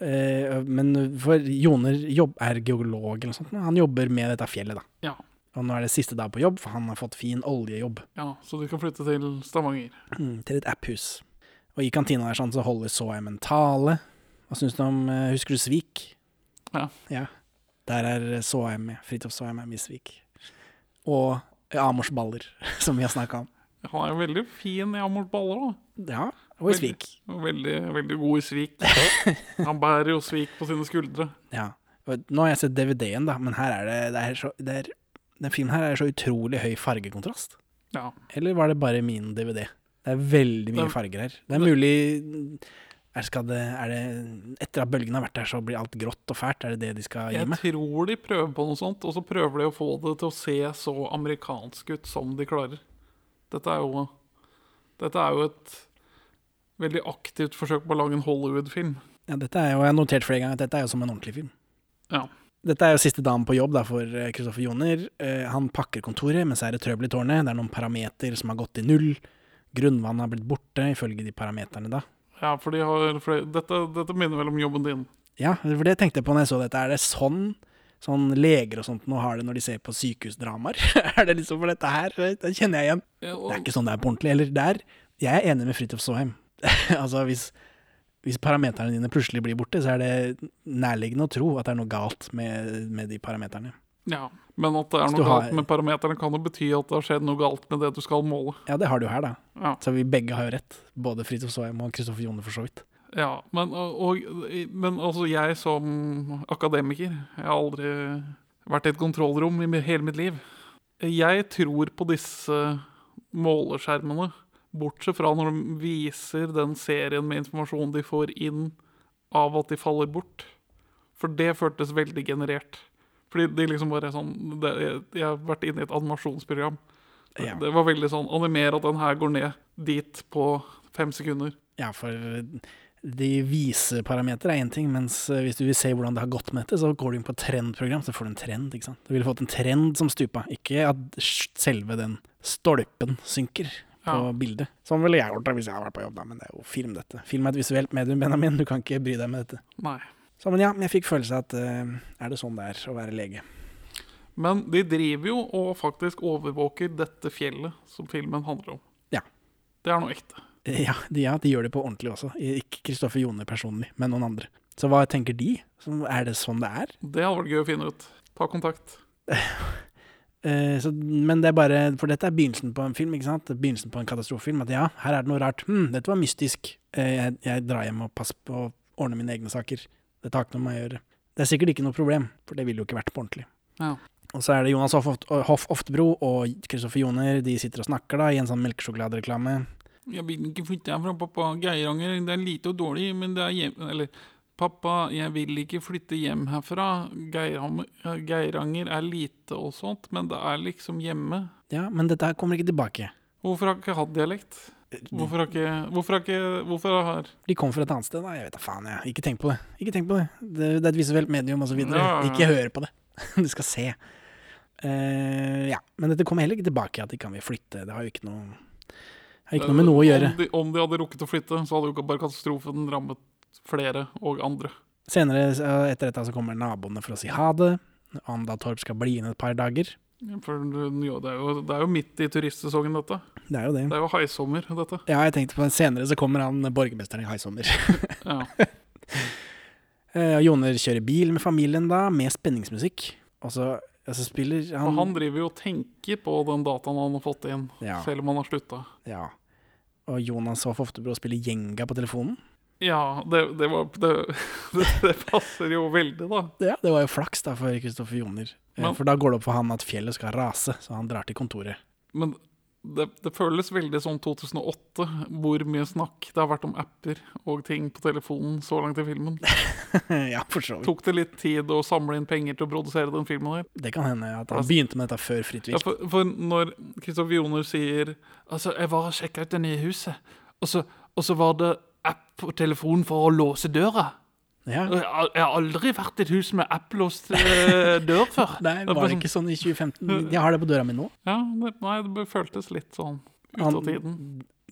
[SPEAKER 1] Eh, men for Joner jobb er geolog eller noe sånt. Han jobber med dette fjellet, da.
[SPEAKER 2] Ja.
[SPEAKER 1] Og nå er det siste dag på jobb, for han har fått fin oljejobb.
[SPEAKER 2] ja, så du kan flytte til Stavanger.
[SPEAKER 1] Mm, til et apphus. Og i kantina der sånn, så holder Soheim en tale. Hva syns du om eh, Husker du Svik?
[SPEAKER 2] Ja.
[SPEAKER 1] Der er Soheim med. Fridtjof Soheim er med i Svik. Og Amors Baller, som vi har snakka om.
[SPEAKER 2] Han er jo veldig fin i Amort Baller, da.
[SPEAKER 1] Ja, og i Svik.
[SPEAKER 2] Og Veldig, veldig god i svik. Han bærer jo svik på sine skuldre.
[SPEAKER 1] Ja. Og Nå har jeg sett DVD-en, da, men her er det, det er så, det er, Den filmen her er så utrolig høy fargekontrast.
[SPEAKER 2] Ja.
[SPEAKER 1] Eller var det bare min DVD? Det er veldig mye
[SPEAKER 2] Det-
[SPEAKER 1] farger her. Det er mulig er, skal det, er det, Etter at bølgen har vært der, så blir alt grått og fælt? Er det det de skal gi
[SPEAKER 2] Jeg
[SPEAKER 1] meg?
[SPEAKER 2] tror de prøver på noe sånt, og så prøver de å få det til å se så amerikansk ut som de klarer. Dette er jo, dette er jo et veldig aktivt forsøk på å lage en Hollywood-film.
[SPEAKER 1] Ja, dette er jo, jeg har notert flere ganger at dette er jo som en ordentlig film.
[SPEAKER 2] Ja.
[SPEAKER 1] Dette er jo siste dagen på jobb da, for eh, Kristoffer Joner. Eh, Han pakker kontoret, men så er det trøbbel i tårnet. Det er noen parameter som har gått i null. Grunnvannet har blitt borte, ifølge de parameterne da.
[SPEAKER 2] Ja, for de har flere dette, dette minner vel om jobben din.
[SPEAKER 1] Ja, for det tenkte jeg på når jeg så dette. Er det sånn sånn leger og sånt nå har det når de ser på sykehusdramaer? er det liksom for dette her? Det kjenner jeg igjen.
[SPEAKER 2] Ja,
[SPEAKER 1] Det er
[SPEAKER 2] og,
[SPEAKER 1] ikke sånn det er på ordentlig. Eller der, jeg er enig med Fridtjof Saaheim. altså, hvis, hvis parameterne dine plutselig blir borte, så er det nærliggende å tro at det er noe galt med, med de parameterne.
[SPEAKER 2] ja. Men at det er
[SPEAKER 1] Hvis
[SPEAKER 2] noe
[SPEAKER 1] du har-
[SPEAKER 2] galt med parameterne, kan jo bety at det har skjedd noe galt med det du skal måle.
[SPEAKER 1] Ja, det har du her, da.
[SPEAKER 2] Ja.
[SPEAKER 1] Så vi begge har jo rett. Både Fridtjof Saaheim og Kristoffer Joner, for så vidt.
[SPEAKER 2] Ja, men, og, og- men altså jeg som akademiker Jeg har aldri vært i et kontrollrom i mi- hele mitt liv. Jeg tror på disse måleskjermene, bortsett fra når de viser den serien med informasjon de får inn av at de faller bort. For det føltes veldig generert. Fordi de liksom bare sånn det, jeg, jeg har vært inne i et animasjonsprogram.
[SPEAKER 1] Ja.
[SPEAKER 2] Det var veldig sånn Animer at den her går ned dit på fem sekunder.
[SPEAKER 1] Ja, for eh, de vise parametere er én ting, mens eh, hvis du vil se hvordan det har gått med dette, så går du inn på trendprogram, så får du en trend, ikke sant. Du ville fått en trend som stupa, ikke at sj- selve den stolpen synker på
[SPEAKER 2] Ja.
[SPEAKER 1] bildet. Sånn ville jeg gjort det hvis jeg hadde vært på jobb, da, men det er jo film, dette. Film er et visuelt medium, Benjamin, du kan ikke bry deg med dette.
[SPEAKER 2] Nei.
[SPEAKER 1] Så, men ja, jeg fikk følelse av at eh, er det sånn det er å være lege?
[SPEAKER 2] Men de driver jo og faktisk overvåker dette fjellet som filmen handler om.
[SPEAKER 1] Ja.
[SPEAKER 2] Det er noe ekte.
[SPEAKER 1] Eh, Ja, de, ja, de gjør det på ordentlig også. Ikke Kristoffer Jone personlig, men noen andre. Så hva tenker de? Så Er det sånn det er?
[SPEAKER 2] Det hadde vært gøy å finne ut. Ta kontakt.
[SPEAKER 1] Eh, så, men det er bare For dette er begynnelsen på en film, ikke sant? Begynnelsen på en katastrofefilm. At ja, her er det noe rart. Hm, dette var mystisk. Eh, jeg, jeg drar hjem og passer på å ordne mine egne saker. Dette har ikke noe med meg å gjøre. Det er sikkert ikke noe problem, for det ville jo ikke vært på ordentlig.
[SPEAKER 2] Ja.
[SPEAKER 1] Og så er det Jonas Hoff, Oft- eh, Hoff Oftebro og Kristoffer Joner, de sitter og snakker da i en sånn melkesjokoladereklame.
[SPEAKER 2] Jeg vil ikke flytte herfra, pappa. Geiranger, det er lite og dårlig, men det er hjem... Eller, pappa, jeg vil ikke flytte hjem herfra. Geiranger, Geiranger er lite og sånt, men det er liksom hjemme.
[SPEAKER 1] Ja, men dette her kommer ikke tilbake.
[SPEAKER 2] Hvorfor har ikke jeg hatt dialekt? Hvorfor har ikke Hvorfor har ikke Hvorfor har
[SPEAKER 1] De kom fra et annet sted, da. Jeg vet da faen, jeg. Ikke tenk på det. Ikke tenk på det. Det, det er et visuelt medium, og så videre.
[SPEAKER 2] Ja, ja, ja.
[SPEAKER 1] Ikke hør på det. Du skal se. Eh, ja. Men dette kommer heller ikke tilbake, at de kan vi flytte. Det har jo ikke noe det har ikke noe med noe å gjøre.
[SPEAKER 2] Om de, om de hadde rukket å flytte, så hadde jo ikke bare katastrofen rammet flere og andre.
[SPEAKER 1] Senere, eh, etter dette, så kommer naboene for å si ha det. Anda Torp skal bli inn et par dager.
[SPEAKER 2] Ja, For du- jo, det, er jo, det er jo midt i turistsesongen, dette.
[SPEAKER 1] Det er jo det.
[SPEAKER 2] Det er jo haisommer, dette.
[SPEAKER 1] Ja, jeg tenkte på det. Senere så kommer han eh, borgermesteren i Haisommer.
[SPEAKER 2] Ja.
[SPEAKER 1] Eh, og Joner kjører bil med familien da, med spenningsmusikk. Og så, og så spiller
[SPEAKER 2] Og
[SPEAKER 1] han
[SPEAKER 2] han driver jo og tenker på den dataen han har fått inn,
[SPEAKER 1] Ja.
[SPEAKER 2] selv om han har slutta.
[SPEAKER 1] Ja. Og Jonas Hoff Oftebro spiller Gjenga på telefonen.
[SPEAKER 2] Ja, det, det, var, det, det, det passer jo veldig, da.
[SPEAKER 1] Ja, det var jo flaks da for Kristoffer Joner. Eh,
[SPEAKER 2] Men-
[SPEAKER 1] For da går det opp for han at fjellet skal rase, så han drar til kontoret.
[SPEAKER 2] Men det, det føles veldig som 2008, hvor mye snakk det har vært om apper og ting på telefonen så langt i filmen.
[SPEAKER 1] ja, for så vidt.
[SPEAKER 2] Tok det litt tid å samle inn penger til å produsere den filmen her?
[SPEAKER 1] Det kan hende at han begynte med dette før Fritvik.
[SPEAKER 2] Ja, for, for når Kristoffer Joner sier Altså, jeg var og sjekka ut det nye huset, og så, og så var det app på telefonen for å låse døra.
[SPEAKER 1] Ja.
[SPEAKER 2] Og Jeg, har- jeg har aldri vært i et hus med app-låst eh, dør før.
[SPEAKER 1] Nei,
[SPEAKER 2] er
[SPEAKER 1] var
[SPEAKER 2] bare
[SPEAKER 1] det ikke sånn i 2015? Jeg har det på døra mi nå.
[SPEAKER 2] sånn- Ja, det, nei, det bare føltes litt sånn ut
[SPEAKER 1] Han-
[SPEAKER 2] av tiden.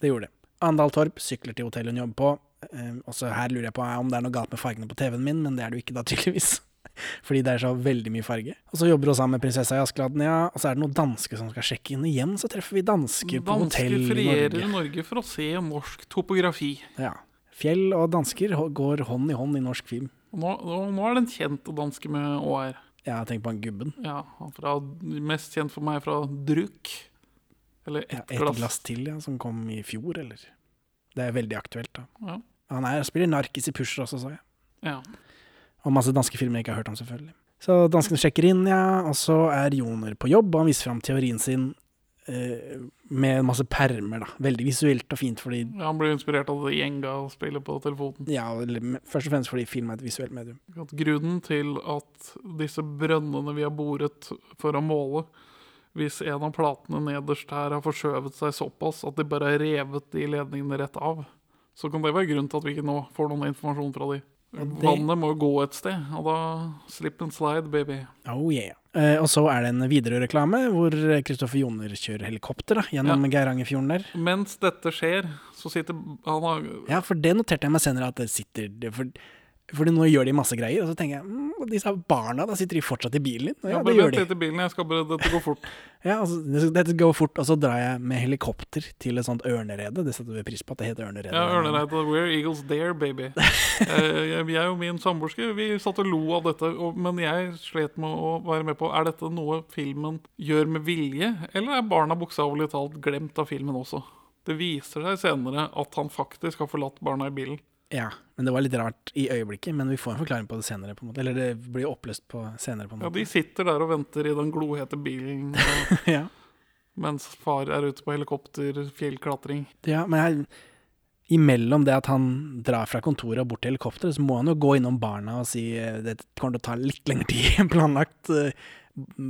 [SPEAKER 1] Det gjorde det. Andal Torp sykler til hotellet hun jobber på. Eh, også her lurer jeg på om det er noe galt med fargene på TV-en min, men det er det jo ikke da, tydeligvis. Fordi det er så veldig mye farge. Og så jobber hun sammen med prinsessa i Askeladden, ja. Og så er det noen dansker som skal sjekke inn igjen, så treffer vi dansker på hotell
[SPEAKER 2] Dansker
[SPEAKER 1] i
[SPEAKER 2] ferierer i
[SPEAKER 1] Norge.
[SPEAKER 2] Norge for å se norsk topografi.
[SPEAKER 1] Ja. Fjell og dansker hå- går hånd i hånd i norsk film.
[SPEAKER 2] Og nå, nå- nå er det en kjent danske med ÅR.
[SPEAKER 1] Jeg har tenkt på han gubben.
[SPEAKER 2] Ja, han fra, mest kjent for meg fra Druk. Eller
[SPEAKER 1] Ja,
[SPEAKER 2] Ett
[SPEAKER 1] et
[SPEAKER 2] glass.
[SPEAKER 1] glass til, ja, som kom i fjor, eller? Det er veldig aktuelt, da.
[SPEAKER 2] Ja.
[SPEAKER 1] Han er, spiller narkis i Pusher også, så jeg.
[SPEAKER 2] Ja.
[SPEAKER 1] Og masse danske filmer jeg ikke har hørt om, selvfølgelig. Så danskene sjekker inn, ja, og så er Joner på jobb, og han viser fram teorien sin eh, med masse permer, da. Veldig visuelt og fint, fordi
[SPEAKER 2] Ja, Han blir inspirert av det Gjenga-spillet på telefonen.
[SPEAKER 1] ja, eller me- Først og fremst fordi film er et visuelt medium.
[SPEAKER 2] At grunnen til at disse brønnene vi har boret for å måle Hvis en av platene nederst her har forskjøvet seg såpass at de bare har revet de ledningene rett av, så kan det være grunnen til at vi ikke nå får noen informasjon fra de. Vannet må jo gå et sted, og da slip and slide, baby.
[SPEAKER 1] Oh yeah. Eh, og så er det en Widerøe-reklame hvor Kristoffer Joner kjører helikopter da, gjennom Geirangerfjorden der.
[SPEAKER 2] Mens dette skjer, så sitter han har,
[SPEAKER 1] Ja, for det noterte jeg meg senere at det sitter det- for, Fordi nå gjør de masse greier, og så tenker jeg mm, og disse barna, da sitter de fortsatt i bilen din? Og
[SPEAKER 2] ja,
[SPEAKER 1] Ja, det
[SPEAKER 2] bare
[SPEAKER 1] gjør
[SPEAKER 2] vent
[SPEAKER 1] de.
[SPEAKER 2] litt i bilen, jeg skal bare, dette går fort.
[SPEAKER 1] Ja, altså, det- dette går fort, og så drar jeg med helikopter til et sånt ørnerede. Det setter vi pris på at det heter ørnerede.
[SPEAKER 2] Ja, Ørnereide, where eagles dare, baby. Eh, jeg, jeg og min samboerske vi satt og lo av dette, og, men jeg slet med å være med på Er dette noe filmen gjør med vilje, eller er barna bokstavelig talt glemt av filmen også? Det viser seg senere at han faktisk har forlatt barna i bilen.
[SPEAKER 1] Ja, men det var litt rart i øyeblikket, men vi får en forklaring på det senere. på en måte. Eller det blir oppløst på senere, på en
[SPEAKER 2] Ja,
[SPEAKER 1] måte.
[SPEAKER 2] De sitter der og venter i den glohete bilen og,
[SPEAKER 1] Ja,
[SPEAKER 2] mens far er ute på helikopterfjellklatring.
[SPEAKER 1] ja men jeg, imellom det at han drar fra kontoret og bort til helikopteret, så må han jo gå innom barna og si eh, det kommer til å ta litt lengre tid enn planlagt. eh,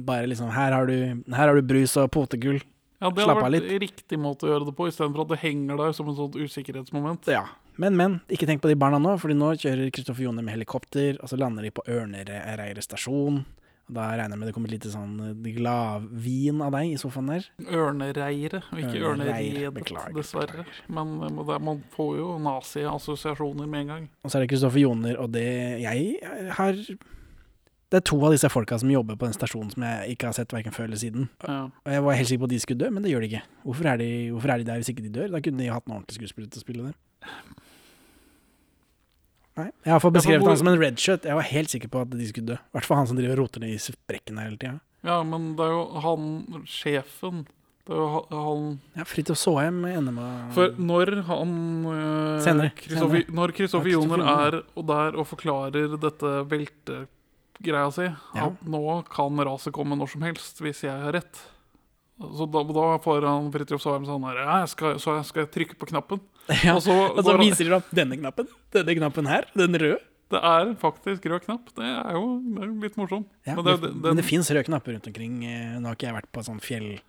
[SPEAKER 1] Bare liksom Her har du, her har du brus og potegull.
[SPEAKER 2] Ja, Det
[SPEAKER 1] Slapp av
[SPEAKER 2] hadde vært riktig måte å gjøre det på, istedenfor at det henger der som en sånn usikkerhetsmoment.
[SPEAKER 1] Ja. Men, men, ikke tenk på de barna nå, Fordi nå kjører Kristoffer Joner med helikopter, og så lander de på Ørnereire stasjon. Og da regner jeg med det kommer litt sånn eh, gladvin av deg i sofaen der.
[SPEAKER 2] Ørnereire, og ikke
[SPEAKER 1] Ørnereir,
[SPEAKER 2] ørneredet,
[SPEAKER 1] beklager,
[SPEAKER 2] dessverre. Men eh, men det, man får jo nazi-assosiasjoner med en gang.
[SPEAKER 1] Og så er det Kristoffer Joner, og det jeg har Det er to av disse folka som jobber på den stasjonen som jeg ikke har sett verken før eller siden.
[SPEAKER 2] Ja.
[SPEAKER 1] Og jeg var helt sikker på at de skulle dø, men det gjør de ikke. Hvorfor er de, hvorfor er de der hvis ikke de dør? Da kunne de hatt en ordentlig skuespiller til å spille der. Nei, Jeg har fått beskrevet
[SPEAKER 2] hvor-
[SPEAKER 1] han som en redshirt. Jeg var helt sikker på at de skulle dø. I hvert fall han som driver og roter ned i sprekken her hele tida.
[SPEAKER 2] ja, men det er jo han sjefen Det er jo ha- han
[SPEAKER 1] Ja, Fridtjof Saaheim ender med
[SPEAKER 2] For når han eh,
[SPEAKER 1] Mm. Senere,
[SPEAKER 2] Kristoffer-
[SPEAKER 1] senere.
[SPEAKER 2] Når Kristoffer
[SPEAKER 1] Ja,
[SPEAKER 2] Joner er
[SPEAKER 1] Kristoffer
[SPEAKER 2] og der og forklarer dette veltegreia si,
[SPEAKER 1] Ja.
[SPEAKER 2] at nå kan raset komme når som helst, hvis jeg har rett Så da, da får han Fridtjof Saaheim sånn her «Ja, jeg skal, Så jeg skal trykke på knappen.
[SPEAKER 1] ja,
[SPEAKER 2] og så-
[SPEAKER 1] Og så viser de opp denne knappen. Denne knappen her. Den røde.
[SPEAKER 2] Det er faktisk rød knapp. Det er jo det er jo litt morsomt.
[SPEAKER 1] Ja, men
[SPEAKER 2] Men det
[SPEAKER 1] det,
[SPEAKER 2] er jo den-
[SPEAKER 1] men det fins røde knapper rundt omkring. Eh, Nå har ikke jeg vært på sånn fjell...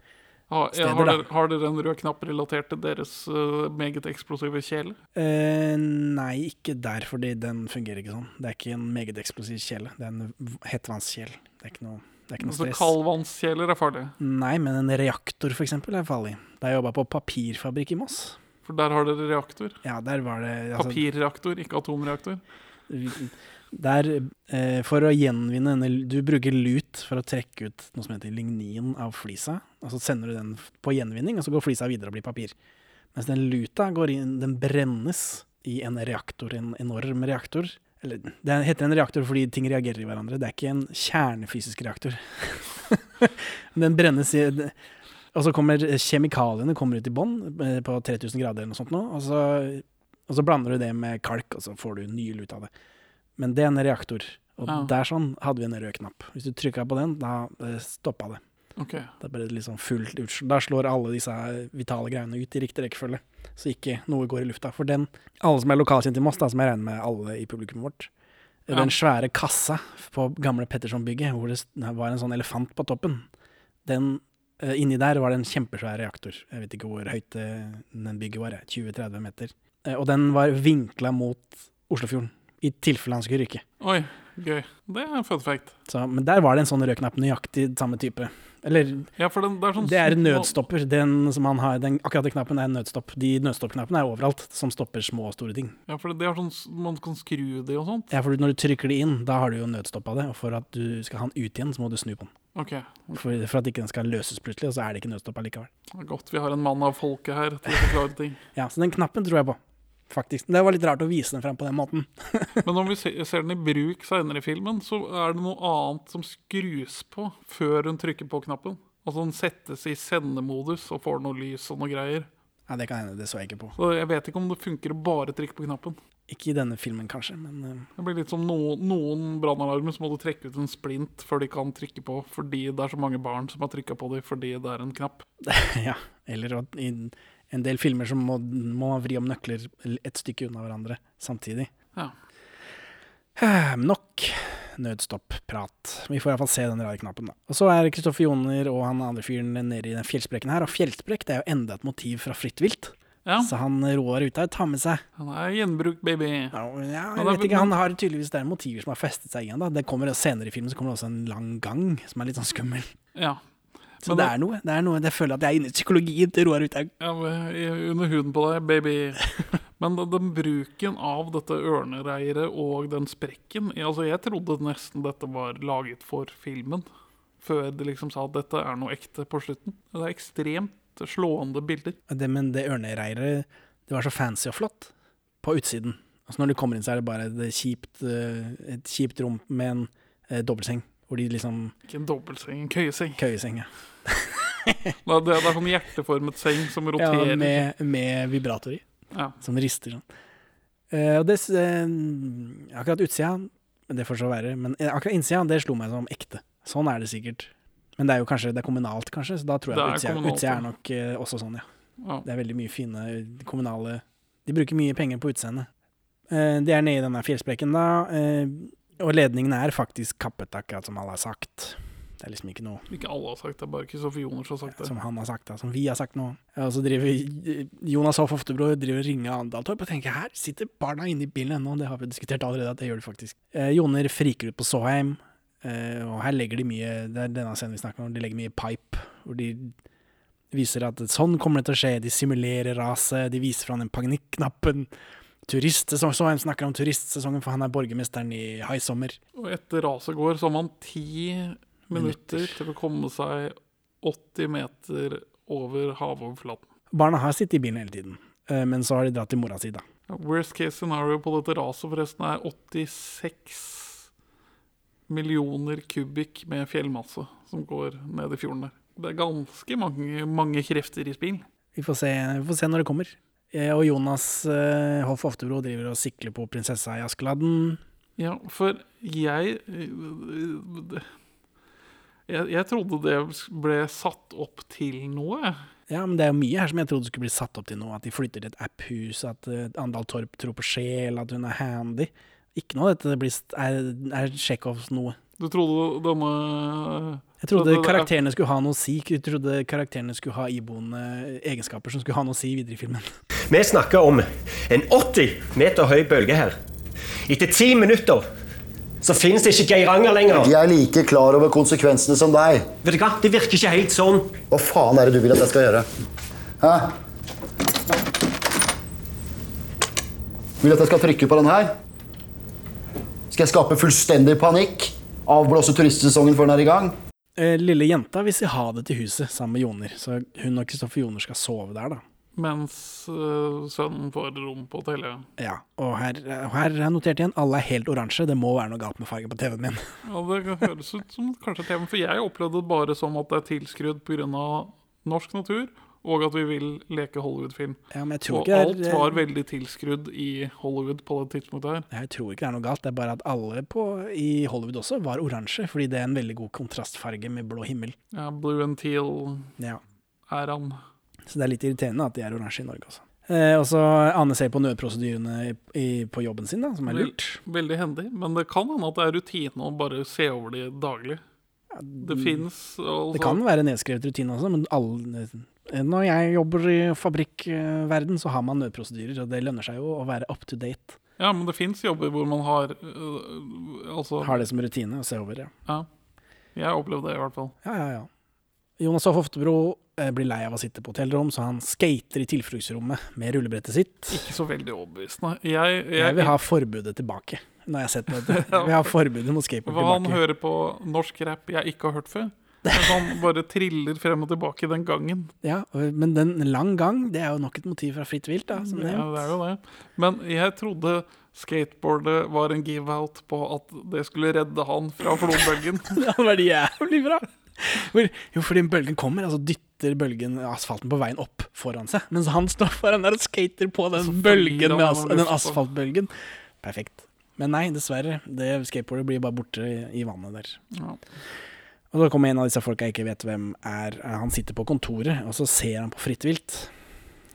[SPEAKER 2] har, ja,
[SPEAKER 1] steder,
[SPEAKER 2] har,
[SPEAKER 1] da.
[SPEAKER 2] dere, har dere en rød knapp relatert til deres eh, meget eksplosive kjele?
[SPEAKER 1] Eh, nei, ikke der, fordi den fungerer ikke sånn. Det er ikke en meget eksplosiv kjele. Det er en v- hettvannskjel. Det er ikke noe, det er ikke noe
[SPEAKER 2] Altså,
[SPEAKER 1] stress.
[SPEAKER 2] Kaldvannskjeler er farlig,
[SPEAKER 1] Nei, men en reaktor for eksempel er farlig. Da jeg jobba på papirfabrikk i Moss
[SPEAKER 2] for der har dere reaktor.
[SPEAKER 1] Ja, der var det altså,
[SPEAKER 2] Papirreaktor, ikke atomreaktor.
[SPEAKER 1] Der, eh, for å gjenvinne denne Du bruker lut for å trekke ut noe som heter lignin av flisa. Og så sender du den f- på gjenvinning, og så går flisa videre og blir papir. Mens den luta går inn, den brennes i en reaktor, en enorm reaktor. Eller, det heter en reaktor fordi ting reagerer i hverandre. Det er ikke en kjernefysisk reaktor. den brennes i Og så kommer kjemikaliene kommer ut i bånn eh, på 3000 grader eller noe sånt nå. Og så, og så blander du det med kalk, og så får du ny lut av det. Men det er en reaktor. Og
[SPEAKER 2] Ja.
[SPEAKER 1] der sånn hadde vi en rød knapp. Hvis du trykka på den, da eh, stoppa det.
[SPEAKER 2] Ok,
[SPEAKER 1] Da ble det liksom fullt ut. Da slår alle disse vitale greiene ut i riktig rekkefølge, så ikke noe går i lufta. For den, alle som er lokalkjent i Moss, da, som jeg regner med alle i publikummet vårt,
[SPEAKER 2] Ja.
[SPEAKER 1] den svære kassa på gamle Petterson-bygget, hvor det s- var en sånn elefant på toppen, den eh, Inni der var det en kjempesvær reaktor. Jeg vet ikke hvor høyt eh, den bygget var. jeg. 20-30 meter. Eh, Og den var vinkla mot Oslofjorden, i tilfelle han skulle ryke.
[SPEAKER 2] Oi, gøy. Det er en fun fact.
[SPEAKER 1] Så, men der var det en sånn rød knapp, nøyaktig samme type. Eller
[SPEAKER 2] Ja, for den, det er sånn
[SPEAKER 1] det er en
[SPEAKER 2] små-
[SPEAKER 1] nødstopper. Den som han har, den, akkurat den knappen er en nødstopp. De nødstoppknappene er overalt, som stopper små og store ting.
[SPEAKER 2] Ja, for det er sånn s- man kan skru det og sånt.
[SPEAKER 1] Ja, for når du trykker det inn, da har du jo nødstoppa det. Og for at du skal ha den ut igjen, så må du snu på den.
[SPEAKER 2] Ok,
[SPEAKER 1] For, for at ikke den skal løses plutselig, og så er det ikke nødstoppa likevel.
[SPEAKER 2] det er godt vi har en mann av folket her til å forklare ting.
[SPEAKER 1] Ja, så den knappen tror jeg på. Faktisk. Det var litt rart å vise den fram på den måten.
[SPEAKER 2] Men når vi se- ser den i bruk seinere i filmen, så er det noe annet som skrus på før hun trykker på knappen. Altså den settes i sendemodus og får noe lys og noe greier.
[SPEAKER 1] Ja, det kan hende, det så jeg ikke på.
[SPEAKER 2] Så jeg vet ikke om det funker å bare trykke på knappen.
[SPEAKER 1] Ikke i denne filmen, kanskje, men eh,
[SPEAKER 2] Det blir litt som no, noen brannalarmer som må du trekke ut en splint før de kan trykke på, fordi det er så mange barn som har trykka på dem fordi det er en knapp.
[SPEAKER 1] Ja, eller at i en del filmer så må, må man vri om nøkler et stykke unna hverandre samtidig.
[SPEAKER 2] Ja.
[SPEAKER 1] Eh, Nok nødstopp-prat. Vi får iallfall se den rare knappen, da. Og så er Kristoffer Joner og han andre fyren nede i den fjellsprekken her. Og fjellsprekk det er jo enda et motiv fra Fritt vilt.
[SPEAKER 2] Ja.
[SPEAKER 1] Så han Roar Uthaug tar med seg
[SPEAKER 2] Han er gjenbrukt, baby.
[SPEAKER 1] ja,
[SPEAKER 2] Ja,
[SPEAKER 1] jeg
[SPEAKER 2] da-
[SPEAKER 1] vet ikke, Han har tydeligvis det er motiver som har festet seg igjen. da Det kommer Senere i filmen så kommer det også en lang gang som er litt sånn skummel.
[SPEAKER 2] Ja.
[SPEAKER 1] Så det
[SPEAKER 2] Men da-
[SPEAKER 1] er noe. det er noe Jeg føler at jeg er inne i psykologien til Roar Uthaug.
[SPEAKER 2] Ja, men under huden på deg, baby. Men den, den bruken av dette ørnereiret og den sprekken jeg- altså Jeg trodde nesten dette var laget for filmen, før de liksom sa at dette er noe ekte på slutten. Det er ekstremt slående bilder.
[SPEAKER 1] Det, men det ørnereiret, det var så fancy og flott på utsiden. Altså Når du kommer inn, så er det bare et kjipt, eh, et kjipt rom med en eh, dobbeltseng. Hvor de liksom
[SPEAKER 2] Ikke en dobbeltseng, en køyeseng.
[SPEAKER 1] Køyeseng, ja.
[SPEAKER 2] Det er, det er sånn hjerteformet seng som
[SPEAKER 1] ja
[SPEAKER 2] roterer. Ja,
[SPEAKER 1] med, med vibrator i.
[SPEAKER 2] Ja.
[SPEAKER 1] Som rister sånn. Eh, og det, s- eh, akkurat utsida, men det får så være, men eh, akkurat innsida, det slo meg som ekte. Sånn er det sikkert. Men det er jo kanskje, det er kommunalt, kanskje, så da tror jeg
[SPEAKER 2] Det
[SPEAKER 1] at
[SPEAKER 2] er
[SPEAKER 1] utsida,
[SPEAKER 2] kommunalt,
[SPEAKER 1] utsida
[SPEAKER 2] ja.
[SPEAKER 1] er nok eh, også sånn, ja. Det er veldig mye fine eh, kommunale De bruker mye penger på utseendet. Eh, De er nede i denne fjellsprekken, da, eh, og ledningene er faktisk kappet, akkurat som alle har sagt. Det er liksom ikke noe
[SPEAKER 2] Ikke alle har sagt det, bare Kristoffer Joner som har sagt det.
[SPEAKER 1] som han har sagt, da, som vi har sagt nå. Ja, Og så driver eh, Jonas Hoff Oftebro driver og ringer Andal Torp og tenker her sitter barna inne i bilen ennå, det har vi diskutert allerede, at det gjør de faktisk. Eh, Joner friker ut på Såheim, eh, og her legger de mye Det er denne scenen vi snakker om, de legger mye pipe, hvor de viser at sånn kommer det til å skje, de simulerer raset, de viser fram den panikknappen. Turistsesong, Såheim snakker om turistsesongen, for han er borgermesteren i High Sommer.
[SPEAKER 2] Og etter raset går, så har man ti
[SPEAKER 1] Minutter.
[SPEAKER 2] minutter til å komme seg 80 meter over havoverflaten.
[SPEAKER 1] Barna har sittet i bilen hele tiden, eh, men så har de dratt til mora si, da.
[SPEAKER 2] Ja, Worst case scenario på dette raset forresten er 86 millioner kubikk med fjellmasse som går ned i fjorden der. Det er ganske mange, mange krefter i spill.
[SPEAKER 1] Vi får se, vi får se når det kommer. Eh, Og Jonas eh, Hoff Oftebro driver og sikler på prinsessa i Askeladden.
[SPEAKER 2] Ja, for jeg jeg, jeg trodde det ble satt opp til noe. jeg.
[SPEAKER 1] Ja, men det er jo mye her som jeg trodde skulle bli satt opp til nå. At de flytter til et apphus, at eh, Andal Torp tror på sjel, at hun er handy. Ikke noe av dette blir, st- er, er Tsjekhovs noe.
[SPEAKER 2] Du trodde denne
[SPEAKER 1] Jeg trodde
[SPEAKER 2] Det- det-
[SPEAKER 1] karakterene skulle ha noe å si. Jeg trodde karakterene skulle ha iboende egenskaper som skulle ha noe å si videre i filmen.
[SPEAKER 3] Vi snakker om en 80 meter høy bølge her. Etter ti minutter så finnes det ikke Geiranger lenger.
[SPEAKER 6] Jeg er like klar over konsekvensene som deg.
[SPEAKER 3] Vet du hva? Det virker ikke helt sånn.
[SPEAKER 6] Hva faen er det du vil at jeg skal gjøre? Hæ? Vil du at jeg skal trykke på den her? Skal jeg skape fullstendig panikk? Avblåse turistsesongen før den er i gang?
[SPEAKER 1] Eh, Lille jenta vil si ha det til huset sammen med Joner, så hun og Kristoffer Joner skal sove der, da.
[SPEAKER 2] Mens øh, sønnen får rom på hotellet.
[SPEAKER 1] Ja, og her, og her har jeg notert igjen, alle er helt oransje. Det må være noe galt med fargen på TV-en min.
[SPEAKER 2] Ja, Det høres ut som kanskje et tema, for jeg opplevde det bare som at det er tilskrudd pga. norsk natur, og at vi vil leke Hollywood-film.
[SPEAKER 1] Ja, men jeg tror,
[SPEAKER 2] Og
[SPEAKER 1] ikke
[SPEAKER 2] alt
[SPEAKER 1] det
[SPEAKER 2] var
[SPEAKER 1] er,
[SPEAKER 2] veldig tilskrudd i Hollywood på det tidspunktet her.
[SPEAKER 1] jeg tror ikke det er noe galt. Det er bare at alle på, i Hollywood også var oransje, fordi det er en veldig god kontrastfarge med blå himmel.
[SPEAKER 2] Ja, Blue and Teal
[SPEAKER 1] Ja,
[SPEAKER 2] er han.
[SPEAKER 1] Så det er litt irriterende at de er oransje i Norge også. Eh, og så Ane ser på nødprosedyrene i, i, på jobben sin, da, som er lurt.
[SPEAKER 2] Veldig hendig, men det kan hende at det er rutine å bare se over de daglig. Det fins
[SPEAKER 1] mm. Det
[SPEAKER 2] altså
[SPEAKER 1] kan være nedskrevet rutine også, men alle når jeg jobber i fabrikkverden, så har man nødprosedyrer, og det lønner seg jo å være up to date.
[SPEAKER 2] Ja, men det fins jobber hvor man har øh, Altså,
[SPEAKER 1] Har det som rutine å se over, ja.
[SPEAKER 2] ja. Jeg opplevde det, i hvert fall.
[SPEAKER 1] Ja, ja, ja. Jonas Hoff Oftebro eh, blir lei av å sitte på hotellrom, så han skater i tilfluktsrommet med rullebrettet sitt.
[SPEAKER 2] Ikke så veldig overbevisende. Jeg, jeg,
[SPEAKER 1] Jeg vil ha forbudet tilbake. Nå har jeg sett dette. Jeg vil ha forbudet mot skateboard
[SPEAKER 2] hva han
[SPEAKER 1] tilbake.
[SPEAKER 2] hører på norsk rap jeg ikke har hørt før. Mens han bare triller frem og tilbake den gangen.
[SPEAKER 1] Ja, og- men den lang gang, det er jo nok et motiv fra Fritt vilt, da. Som
[SPEAKER 2] Ja, det
[SPEAKER 1] nevnt.
[SPEAKER 2] er jo det. Men jeg trodde skateboardet var en give-out på at det skulle redde han fra flodbølgen.
[SPEAKER 1] Det hadde vært jævlig bra! Hvor, jo, fordi bølgen kommer, altså dytter bølgen asfalten på veien opp foran seg. Mens han står foran der og skater på den
[SPEAKER 2] flyr
[SPEAKER 1] bølgen
[SPEAKER 2] han
[SPEAKER 1] med as
[SPEAKER 2] gjennom
[SPEAKER 1] den
[SPEAKER 2] lufta.
[SPEAKER 1] asfaltbølgen. Perfekt. Men nei, dessverre. Det skateboardet blir bare borte i, i vannet der.
[SPEAKER 2] Ja.
[SPEAKER 1] Og da kommer en av disse folka jeg ikke vet hvem er. eh, Han sitter på kontoret, og så ser han på fritt vilt.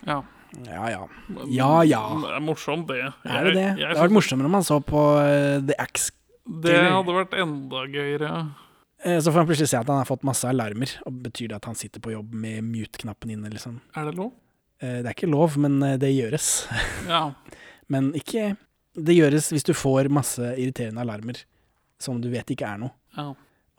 [SPEAKER 2] Ja.
[SPEAKER 1] Ja ja. Ja ja.
[SPEAKER 2] Det er morsomt, det.
[SPEAKER 1] Er det det? Det
[SPEAKER 2] Jeg- jeg
[SPEAKER 1] hadde vært
[SPEAKER 2] synes
[SPEAKER 1] morsommere om han så på eh, The Axe.
[SPEAKER 2] det hadde vært enda gøyere.
[SPEAKER 1] Eh, Så får han plutselig se at han har fått masse alarmer. Og Betyr det at han sitter på jobb med mute-knappen inne, liksom?
[SPEAKER 2] Er det lov?
[SPEAKER 1] Eh, Det er ikke lov, men eh, det gjøres.
[SPEAKER 2] Ja.
[SPEAKER 1] Men ikke Det gjøres hvis du får masse irriterende alarmer som du vet ikke er noe.
[SPEAKER 2] ja.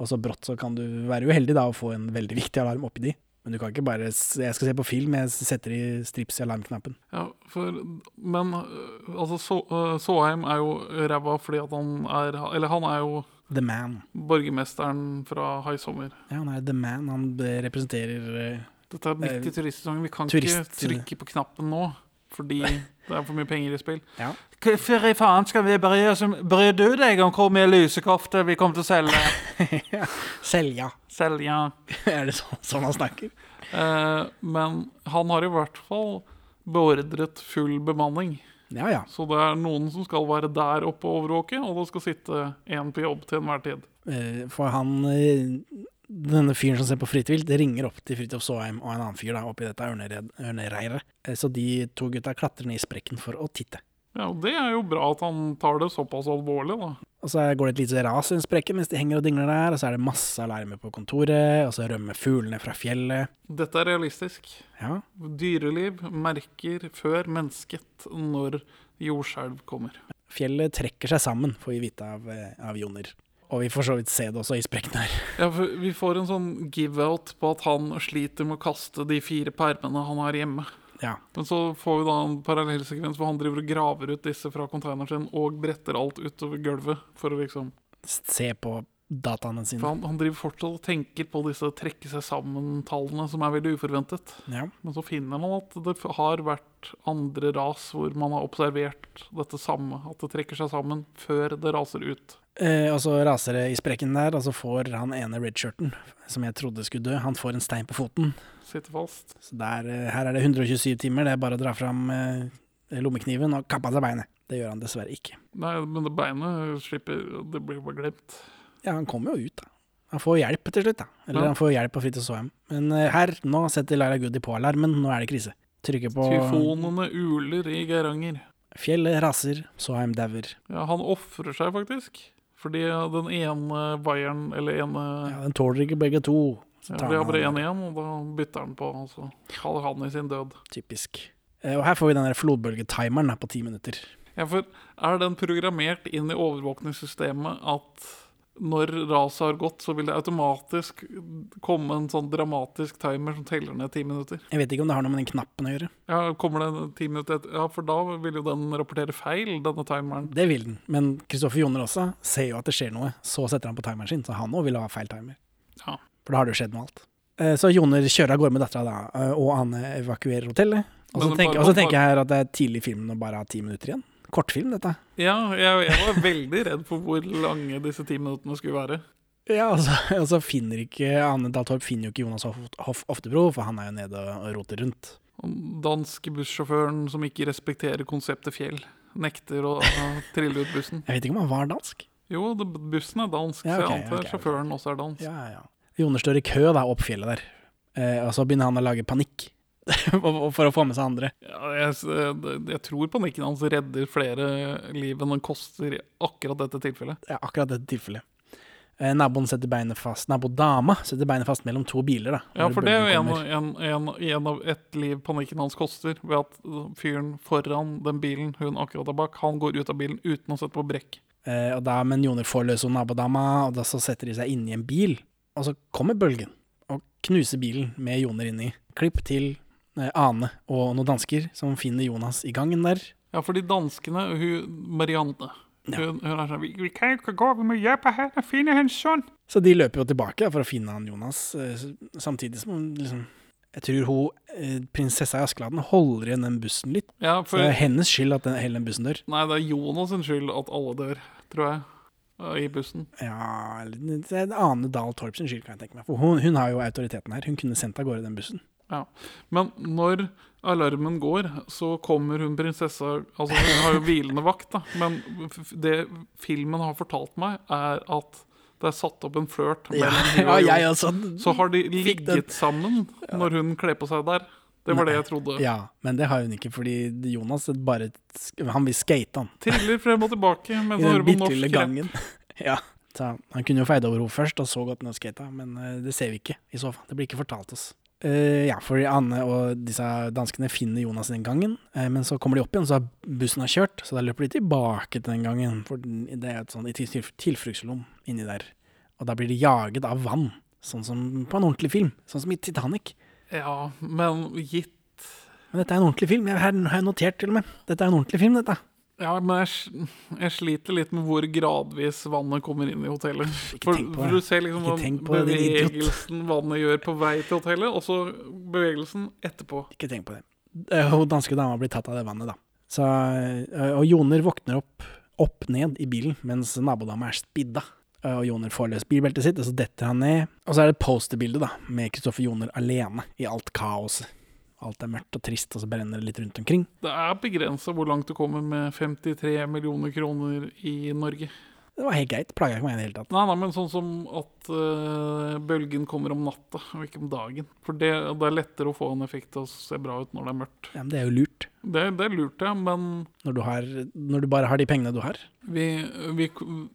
[SPEAKER 1] Og så brått så kan du være uheldig da og få en veldig viktig alarm oppi de. Men du kan ikke bare s- Jeg skal se på film, jeg setter i strips i alarmknappen.
[SPEAKER 2] ja for, men øh, altså, så, øh, Såheim er jo ræva fordi at han er Eller han er jo
[SPEAKER 1] The Man.
[SPEAKER 2] borgermesteren fra Haisommer.
[SPEAKER 1] Ja, han er The Man. Han eh, representerer eh,
[SPEAKER 2] Dette er midt i
[SPEAKER 1] Eh,
[SPEAKER 2] turistsesongen. Vi kan
[SPEAKER 1] turist-
[SPEAKER 2] ikke trykke på knappen nå, fordi det er for mye penger i spill.
[SPEAKER 1] Ja.
[SPEAKER 7] Hvorfor i faen skal vi bry oss om Bryr du deg om hvor mye lusekofter vi kommer til å selge?
[SPEAKER 1] Selja.
[SPEAKER 2] Selja.
[SPEAKER 1] er det sånn, sånn han snakker?
[SPEAKER 2] Eh, men han har i hvert fall beordret full bemanning.
[SPEAKER 1] Ja ja.
[SPEAKER 2] Så det er noen som skal være der oppe og overvåke, og det skal sitte én på jobb til enhver tid.
[SPEAKER 1] Eh, For han eh, Denne fyren som ser på Fridtvilt, det ringer opp til Fridtjof Saaheim og en annen fyr da oppi dette ørnered- ørnereiret. Eh, Så de to gutta klatrer ned i sprekken for å titte.
[SPEAKER 2] Ja, og Det er jo bra at han tar det såpass alvorlig, da.
[SPEAKER 1] Og så går det et lite ras i en sprekke mens de henger og dingler der, og så er det masse alarmer på kontoret, og så rømmer fuglene fra fjellet.
[SPEAKER 2] Dette er realistisk.
[SPEAKER 1] Ja,
[SPEAKER 2] Dyreliv merker før mennesket når jordskjelv kommer.
[SPEAKER 1] Fjellet trekker seg sammen, får vi vite av, eh, av Joner. Og vi får så vidt se det også i sprekken her.
[SPEAKER 2] Ja, for Vi får en sånn give-out på at han sliter med å kaste de fire permene han har hjemme.
[SPEAKER 1] Ja,
[SPEAKER 2] Men så får vi da en parallellsekvens hvor han driver og graver ut disse fra containeren sin og bretter alt utover gulvet. For å liksom
[SPEAKER 1] Se på dataene
[SPEAKER 2] For
[SPEAKER 1] sine.
[SPEAKER 2] han, han driver fortsatt og tenker på disse trekke seg sammen-tallene, som er veldig uforventet.
[SPEAKER 1] Ja.
[SPEAKER 2] Men så finner man at det har vært andre ras hvor man har observert dette samme. At det trekker seg sammen før det raser ut.
[SPEAKER 1] Eh, og så raser det i sprekken der, og så får han ene redshirten, som jeg trodde skulle dø, han får en stein på foten.
[SPEAKER 2] Sitter fast.
[SPEAKER 1] Så der, eh, her er det 127 timer, det er bare å dra fram eh, lommekniven og kappe av seg beinet. Det gjør han dessverre ikke.
[SPEAKER 2] Nei, men det beinet slipper Det blir bare glemt.
[SPEAKER 1] Ja, han kommer jo ut, da. Han får hjelp til slutt, da. Eller
[SPEAKER 2] Ja.
[SPEAKER 1] han får hjelp av Fridtjof Saaheim. Men eh, her, nå setter Laila Goody på alarmen, nå er det krise. Trykker på
[SPEAKER 2] Tyfonene uler i Geiranger.
[SPEAKER 1] Fjellet raser, Saaheim dauer.
[SPEAKER 2] Ja, han ofrer seg faktisk. Fordi den ene vaieren, eller ene
[SPEAKER 1] Ja, den tåler ikke begge to. Så
[SPEAKER 2] ja,
[SPEAKER 1] tar
[SPEAKER 2] De har
[SPEAKER 1] han
[SPEAKER 2] bare
[SPEAKER 1] han.
[SPEAKER 2] én igjen, og da bytter han på. Og så faller han i sin død.
[SPEAKER 1] Typisk. Eh, Og her får vi den der flodbølgetimeren da, på ti minutter.
[SPEAKER 2] Ja, for er den programmert inn i overvåkningssystemet at når raset har gått, så vil det automatisk komme en sånn dramatisk timer som teller ned ti minutter?
[SPEAKER 1] Jeg vet ikke om det har noe med den knappen å gjøre.
[SPEAKER 2] Ja, kommer det ti minutter etter? Ja, for da vil jo den rapportere feil, denne timeren.
[SPEAKER 1] Det vil den, men Kristoffer Joner også ser jo at det skjer noe. Så setter han på timeren sin, så han òg vil ha feil timer.
[SPEAKER 2] Ja.
[SPEAKER 1] For da har det jo skjedd med alt. Eh, Så Joner kjører av gårde med dattera da, eh, og Anne evakuerer hotellet. Og så
[SPEAKER 2] Men
[SPEAKER 1] tenker,
[SPEAKER 2] bare-
[SPEAKER 1] og så tenker jeg her at det er tidlig i filmen og bare har ti minutter igjen. Kortfilm, dette.
[SPEAKER 2] Ja, jeg, jeg var veldig redd for hvor lange disse ti minuttene skulle være.
[SPEAKER 1] Ja, og så, og så finner ikke Anne Dahl Torp finner jo ikke Jonas Hoff, Hoff Oftebro, for han er jo nede og og roter rundt.
[SPEAKER 2] Og Danske bussjåføren som ikke respekterer konseptet fjell, nekter å eh, trille ut bussen.
[SPEAKER 1] Jeg vet ikke om han var dansk.
[SPEAKER 2] Jo, det, bussen er dansk,
[SPEAKER 1] Ja,
[SPEAKER 2] så jeg
[SPEAKER 1] ok,
[SPEAKER 2] antar
[SPEAKER 1] ok, ok.
[SPEAKER 2] sjåføren også er dansk.
[SPEAKER 1] Ja, ja. Joner står i kø da, opp fjellet der, eh, og så begynner han å lage panikk for for å få med seg andre.
[SPEAKER 2] Ja, jeg, eh, jeg- jeg tror panikken hans redder flere liv enn den koster i akkurat dette tilfellet.
[SPEAKER 1] ja, akkurat dette tilfellet. Eh, naboen setter beinet fast Nabodama setter beinet fast mellom to biler. da
[SPEAKER 2] Ja,
[SPEAKER 1] Når
[SPEAKER 2] for det er jo
[SPEAKER 1] bølgen
[SPEAKER 2] en,
[SPEAKER 1] kommer.
[SPEAKER 2] en, en, en av ett liv panikken hans koster, ved at fyren foran den bilen hun akkurat er bak, han går ut av bilen uten å sette på brekk.
[SPEAKER 1] eh, og da, Men Joner får løs om nabodama, og da så setter de seg inni en bil. Og så kommer bølgen og knuser bilen med Joner inni. Klipp til eh, Ane og noen dansker som finner Jonas i gangen der.
[SPEAKER 2] Ja, for de danskene, hun Marianne
[SPEAKER 1] Ja.
[SPEAKER 2] hun, hun er sånn vi, vi,
[SPEAKER 7] kan ikke gå, vi må hjelpe henne å finne hennes sønn.
[SPEAKER 1] Så de løper jo tilbake da, for å finne han Jonas, eh, s- samtidig som hun liksom Jeg tror hun, eh, prinsessa i Askeladden holder igjen den bussen litt.
[SPEAKER 2] ja,
[SPEAKER 1] Så
[SPEAKER 2] for,
[SPEAKER 1] det er hennes skyld at den, hele den bussen dør.
[SPEAKER 2] Nei, det er Jonas sin skyld at alle dør, tror jeg, eh, i bussen.
[SPEAKER 1] Ja, eller- det er Ane Dahl Torp sin skyld, kan jeg tenke meg. For hun, hun har jo autoriteten her. Hun kunne sendt av gårde den bussen.
[SPEAKER 2] Ja. Men når alarmen går, så kommer hun prinsessa Altså, hun har jo hvilende vakt, da. Men f- f- det filmen har fortalt meg, er at det er satt opp en flørt mellom hun og Jon.
[SPEAKER 1] altså.
[SPEAKER 2] Så har de
[SPEAKER 1] fikk den.
[SPEAKER 2] ligget sammen når hun kler på seg der. Det var det jeg trodde.
[SPEAKER 1] Ja, men det har hun ikke, fordi Jonas bare sk- Han vil skate, han.
[SPEAKER 2] Triller frem og tilbake
[SPEAKER 1] I
[SPEAKER 2] mens hun
[SPEAKER 1] den
[SPEAKER 2] hører på
[SPEAKER 1] bitte lille
[SPEAKER 2] norsk rap.
[SPEAKER 1] gangen. ja. Så han kunne jo feid over henne først, og så godt ned og skata, men eh, det ser vi ikke i så fall. Det blir ikke fortalt oss. Eh, ja, for Anne og disse danskene finner Jonas den gangen, eh, men så kommer de opp igjen, så har bussen har kjørt, så da løper de tilbake til den gangen, for den- det er et sånn et til- tilfluktsrom inni der. Og da blir de jaget av vann, sånn som på en ordentlig film, sånn som i Titanic.
[SPEAKER 2] Ja, men gitt
[SPEAKER 1] Men dette er en ordentlig film, jeg har har jeg notert til og med. Dette er en ordentlig film, dette.
[SPEAKER 2] Ja, men jeg, sl- jeg sliter litt med hvor gradvis vannet kommer inn i hotellet. For,
[SPEAKER 1] tenk på
[SPEAKER 2] for
[SPEAKER 1] det.
[SPEAKER 2] du ser liksom
[SPEAKER 1] Ikke
[SPEAKER 2] hva
[SPEAKER 1] tenk på det, din idiot.
[SPEAKER 2] bevegelsen vannet gjør på vei til hotellet, og så bevegelsen etterpå.
[SPEAKER 1] Ikke tenk på det. Eh, Hun danske dama blir tatt av det vannet, da. Så, eh, og Joner våkner opp, opp ned i bilen, mens nabodama er spidda. Eh, Og Joner får løs bilbeltet sitt, og så detter han ned. Og så er det posterbildet, da, med Kristoffer Joner alene i alt kaoset. Alt er mørkt og trist, og så brenner det litt rundt omkring.
[SPEAKER 2] Det er begrensa hvor langt du kommer med 53 millioner kroner i Norge.
[SPEAKER 1] Det var helt greit, plaga ikke meg i det hele tatt.
[SPEAKER 2] Nei, nei, men sånn som at eh, bølgen kommer om natta, og ikke om dagen. For det, det er lettere å få en effekt av å se bra ut når det er mørkt.
[SPEAKER 1] Ja, men det er jo lurt,
[SPEAKER 2] Det, det lurte jeg, men
[SPEAKER 1] når du, har, når du bare har de pengene du har.
[SPEAKER 2] vi, vi,